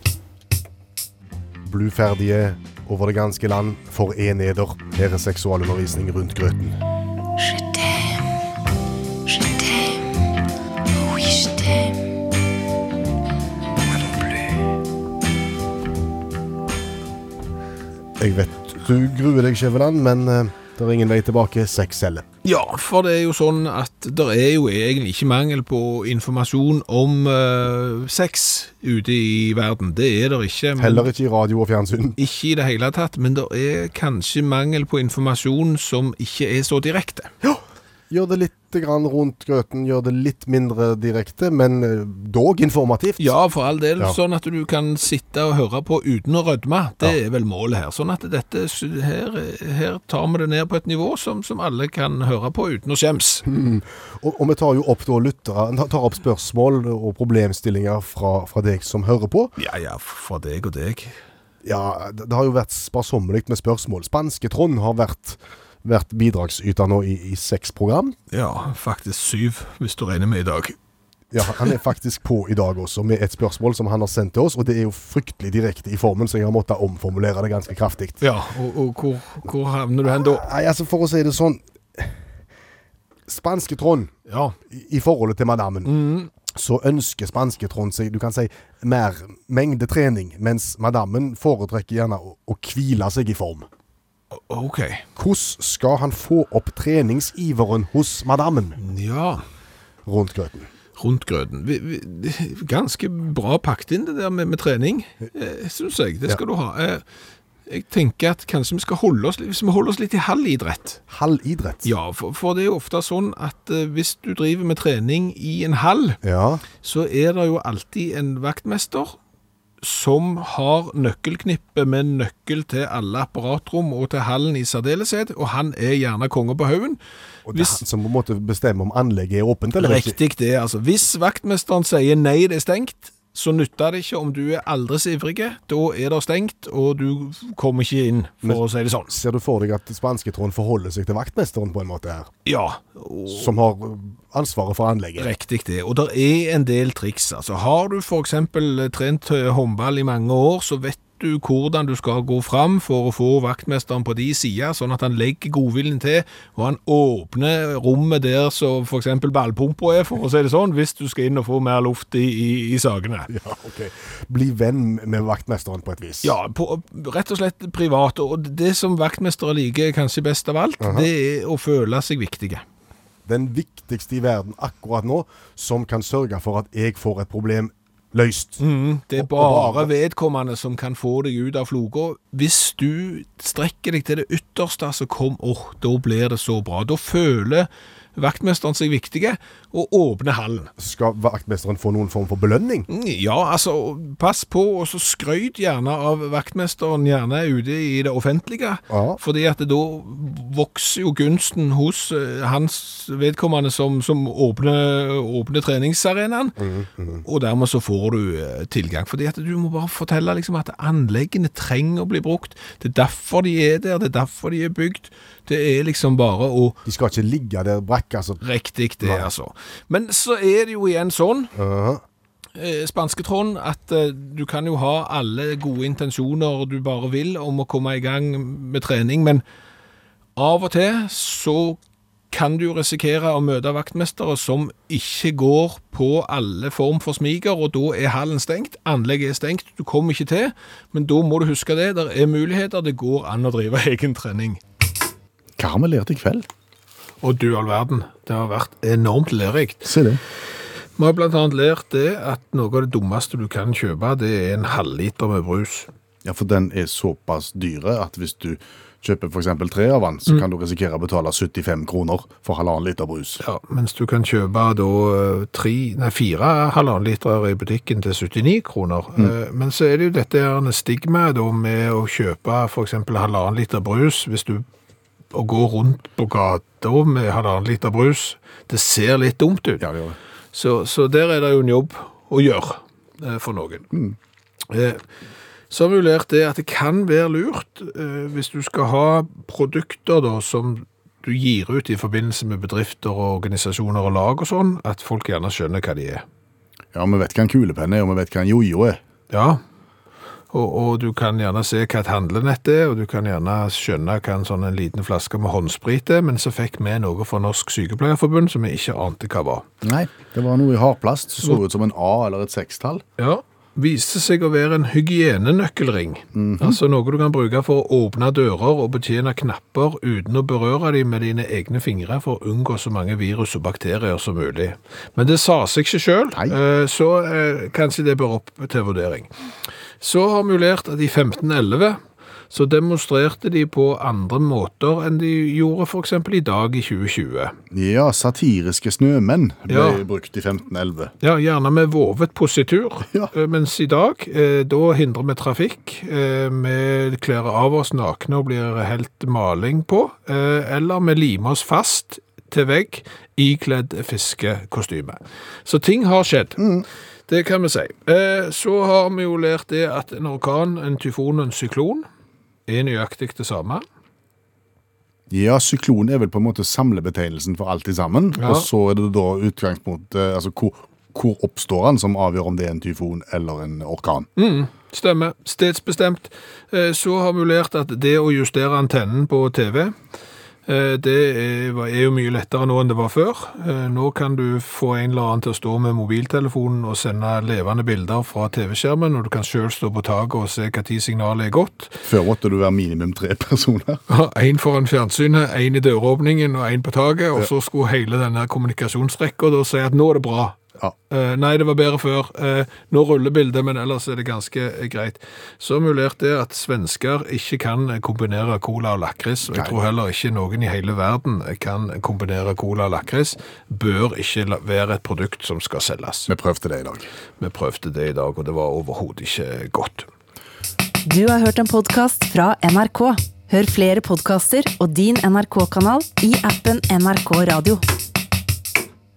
Speaker 6: Bluferdige over det ganske land for én eder. Her er seksualundervisning rundt grøten.
Speaker 7: Je t'aime, je t'aime, oui je t'aime.
Speaker 6: Jeg vet du gruer deg, Skjæveland, men eh, det er ingen vei tilbake. Sex selger.
Speaker 2: Ja, for det er jo sånn at det er jo egentlig ikke mangel på informasjon om eh, sex ute i verden. Det er det ikke. Men
Speaker 6: Heller ikke i radio og fjernsyn.
Speaker 2: Ikke i det hele tatt, men det er kanskje mangel på informasjon som ikke er så direkte.
Speaker 6: Gjør det litt grann rundt grøten, gjør det litt mindre direkte, men eh, dog informativt.
Speaker 2: Ja, for all del,
Speaker 6: Ja.
Speaker 2: sånn at du kan sitte og høre på uten å rødme. Det er vel målet her. Sånn at dette her, her tar vi det ned på et nivå som, som alle kan høre på uten å skjems.
Speaker 6: Og, og vi tar jo opp da lyttere, tar opp spørsmål og problemstillinger fra, fra deg som hører på.
Speaker 2: Ja, ja, fra deg og deg.
Speaker 6: Ja, det, det har jo vært sparsommelig med spørsmål. Spanske Trond har vært, vært bidragsyter nå i, i seks program.
Speaker 2: Ja, faktisk syv, hvis du regner med i dag.
Speaker 6: Ja, han er faktisk på i dag også med et spørsmål som han har sendt til oss, og det er jo fryktelig direkte i formen, så jeg har måttet omformulere det ganske kraftig.
Speaker 2: Ja, og, og hvor, hvor havner du hen da?
Speaker 6: Nei, altså for å si det sånn, spanske Trond,
Speaker 2: Ja, Mm.
Speaker 6: i i forholdet til madammen, så ønsker spanske Trond seg, du kan si, mer mengdetrening, mens madammen foretrekker gjerne å, å hvile seg i form.
Speaker 2: o- ok.
Speaker 6: Hvordan skal han få opp treningsiveren hos madammen
Speaker 2: Ja,
Speaker 6: rundt grøten?
Speaker 2: rundt grøten. Vi, vi, det- ganske bra pakket inn det der med, med trening, eh, synes jeg. Det skal du ha. Eh, jeg tenker at kanskje vi skal holde oss, litt- hvis vi holder oss litt i halvidrett.
Speaker 6: Halvidrett?
Speaker 2: Ja, for, for det er jo ofte sånn at eh, hvis du driver med trening i en hall,
Speaker 6: Ja,
Speaker 2: så er det jo alltid en vaktmester som har nøkkelknippet med nøkkel til alle apparatrom og til hallen i særdeleshet, og han er gjerne konge på haugen.
Speaker 6: og det er
Speaker 2: Hvis-
Speaker 6: han som på en måte bestemmer om anlegget er åpent eller ikke.
Speaker 2: Riktig det, altså. Hvis vaktmesteren sier nei, det er stengt, så nytter det ikke om du er aldres ivrige. Da er det stengt, og du kommer ikke inn, for å si det sånn.
Speaker 6: Ser du for deg at spansketråden forholder seg til vaktmesteren på en måte her,
Speaker 2: Ja, og
Speaker 6: som har øh, ansvaret for anlegget?
Speaker 2: Riktig det, og det er en del triks. Altså, har du for eksempel eh, trent eh, håndball i mange år, så vet du hvordan du skal gå fram for å få vaktmesteren på de sida, sånn at han legger godviljen til, og han åpner rommet der som f.eks. ballpumpa er, for å si det sånn, hvis du skal inn og få mer luft i, i, i sakene.
Speaker 6: Ja, ok. Bli venn med vaktmesteren på et vis.
Speaker 2: Ja, på, rett og slett privat. Og det som vaktmestere liker kanskje best av alt, det er å føle seg viktige.
Speaker 6: Den viktigste i verden akkurat nå, som kan sørge for at jeg får et problem løst.
Speaker 2: Mm, Det er
Speaker 6: Og- og
Speaker 2: bare vedkommende som kan få deg ut av floka. Hvis du strekker deg til det ytterste, så kom åh, da blir det så bra. Da føler vaktmesteren seg viktige, og åpner hallen.
Speaker 6: Skal vaktmesteren få noen form for belønning?
Speaker 2: Mm, Ja, altså, pass på, og så skryt gjerne av vaktmesteren, gjerne ute i det offentlige.
Speaker 6: Ja.
Speaker 2: Fordi at da vokser jo gunsten hos eh, hans vedkommende som, som åpner, åpner treningsarenaen, og dermed så får du eh, tilgang. Fordi at du må bare fortelle liksom at anleggene trenger å bli brukt. Det er derfor de er der, det er derfor de er bygd. Det er liksom bare å
Speaker 6: De skal ikke ligge der brakk, altså.
Speaker 2: Riktig det,
Speaker 6: Nei.
Speaker 2: altså. Men så er det jo igjen sånn,
Speaker 6: Uh,
Speaker 2: eh, spansketråden, at eh, du kan jo ha alle gode intensjoner du bare vil om å komme i gang med trening, men av og til så kan du jo risikere å møte vaktmestere som ikke går på alle form for smiger, og da er hallen stengt, anlegget er stengt, du kommer ikke til, men da må du huske det, det er muligheter, det går an å drive egen trening.
Speaker 3: Hva har vi lært i kveld?
Speaker 2: Og du all verden, det har vært enormt lærerikt.
Speaker 3: Se det.
Speaker 2: Vi har blant annet lært det at noe av det dummeste du kan kjøpe, det er en halvliter med brus.
Speaker 3: Ja, for den er såpass dyre at hvis du kjøper f.eks. tre av den, så kan du risikere å betale 75 kroner for halvannen liter brus.
Speaker 2: Ja, mens du kan kjøpe da eh, tre, nei, fire halvannen liter i butikken til 79 kroner. Eh, Men så er det jo dette her stigmaet da med å kjøpe f.eks. halvannen liter brus hvis du og går rundt på gata med halvannen liter brus. Det ser litt dumt ut.
Speaker 3: Ja, det gjør det.
Speaker 2: Så, så der er det jo en jobb å gjøre eh, for noen. Eh, så har vi jo lært det at det kan være lurt eh, hvis du skal ha produkter da, som du gir ut i forbindelse med bedrifter og organisasjoner og lag og sånn, at folk gjerne skjønner hva de er.
Speaker 3: Ja, vi vet hva en kulepenn er, og vi vet hva en jojo er.
Speaker 2: Ja, og, og du kan gjerne se hva et handlenett er, og du kan gjerne skjønne hva en sånn en liten flaske med håndsprit er, men så fikk vi noe fra Norsk Sykepleierforbund som vi ikke ante hva var.
Speaker 3: Nei, Mm. det var noe i hardplast som så ut som en A eller et sekstall.
Speaker 2: Ja, viste seg å være en hygienenøkkelring. Altså noe du kan bruke for å åpne dører og betjene knapper uten å berøre dem med dine egne fingre for å unngå så mange virus og bakterier som mulig. Men det sa seg ikke selv,
Speaker 3: Nei.
Speaker 2: eh, så eh, kanskje det bør opp til vurdering. Så har vi jo lært at i 1511 så demonstrerte de på andre måter enn de gjorde for eksempel i dag i 2020.
Speaker 3: Ja, satiriske snømenn ble
Speaker 2: Ja.
Speaker 3: brukt i 1511.
Speaker 2: Ja, gjerne med vovet positur.
Speaker 3: Ja.
Speaker 2: Eh, Mens i dag, eh, da hindrer vi trafikk. eh, Vi kler av oss nakne og blir helt maling på. eh, Eller vi limer oss fast til vegg ikledd fiskekostyme. Så ting har skjedd. Det kan vi si. Eh, Så har vi jo lært det at en orkan, en tyfon og en syklon er nøyaktig det samme.
Speaker 3: Ja, syklon er vel på en måte samlebetegnelsen for alt i sammen.
Speaker 2: Ja.
Speaker 3: Og så er det da utgangspunktet altså hvor, hvor oppstår han, som avgjør om det er en tyfon eller en orkan.
Speaker 2: Stemmer. Stedsbestemt. Eh, Så har vi lært at det å justere antennen på TV, eh, det er- var- er jo mye lettere nå enn det var før. Eh, Nå kan du få en eller annen til å stå med mobiltelefonen og sende levende bilder fra TV-skjermen, og du kan sjøl stå på taket og se hva tid signalet er gått.
Speaker 3: Før måtte du være minimum tre personer.
Speaker 2: Én foran fjernsynet, én i døråpningen og én på taket, og så skulle hele denne kommunikasjonsrekka da si at nå er det bra.
Speaker 3: Ja.
Speaker 2: Eh, nei, det var bedre før. Eh, nå ruller bildet, men ellers er det ganske eh, greit. Så mulert det at svensker ikke kan eh, kombinere cola og lakris, og jeg tror heller ikke noen i hele verden eh, kan kombinere cola og lakris, bør ikke la- være et produkt som skal selges.
Speaker 3: Vi prøvde det i dag.
Speaker 2: Vi prøvde det i dag, og det var overhodet ikke godt.
Speaker 1: Du har hørt en podkast fra NRK. Hør flere podkaster og din NRK-kanal i appen NRK Radio.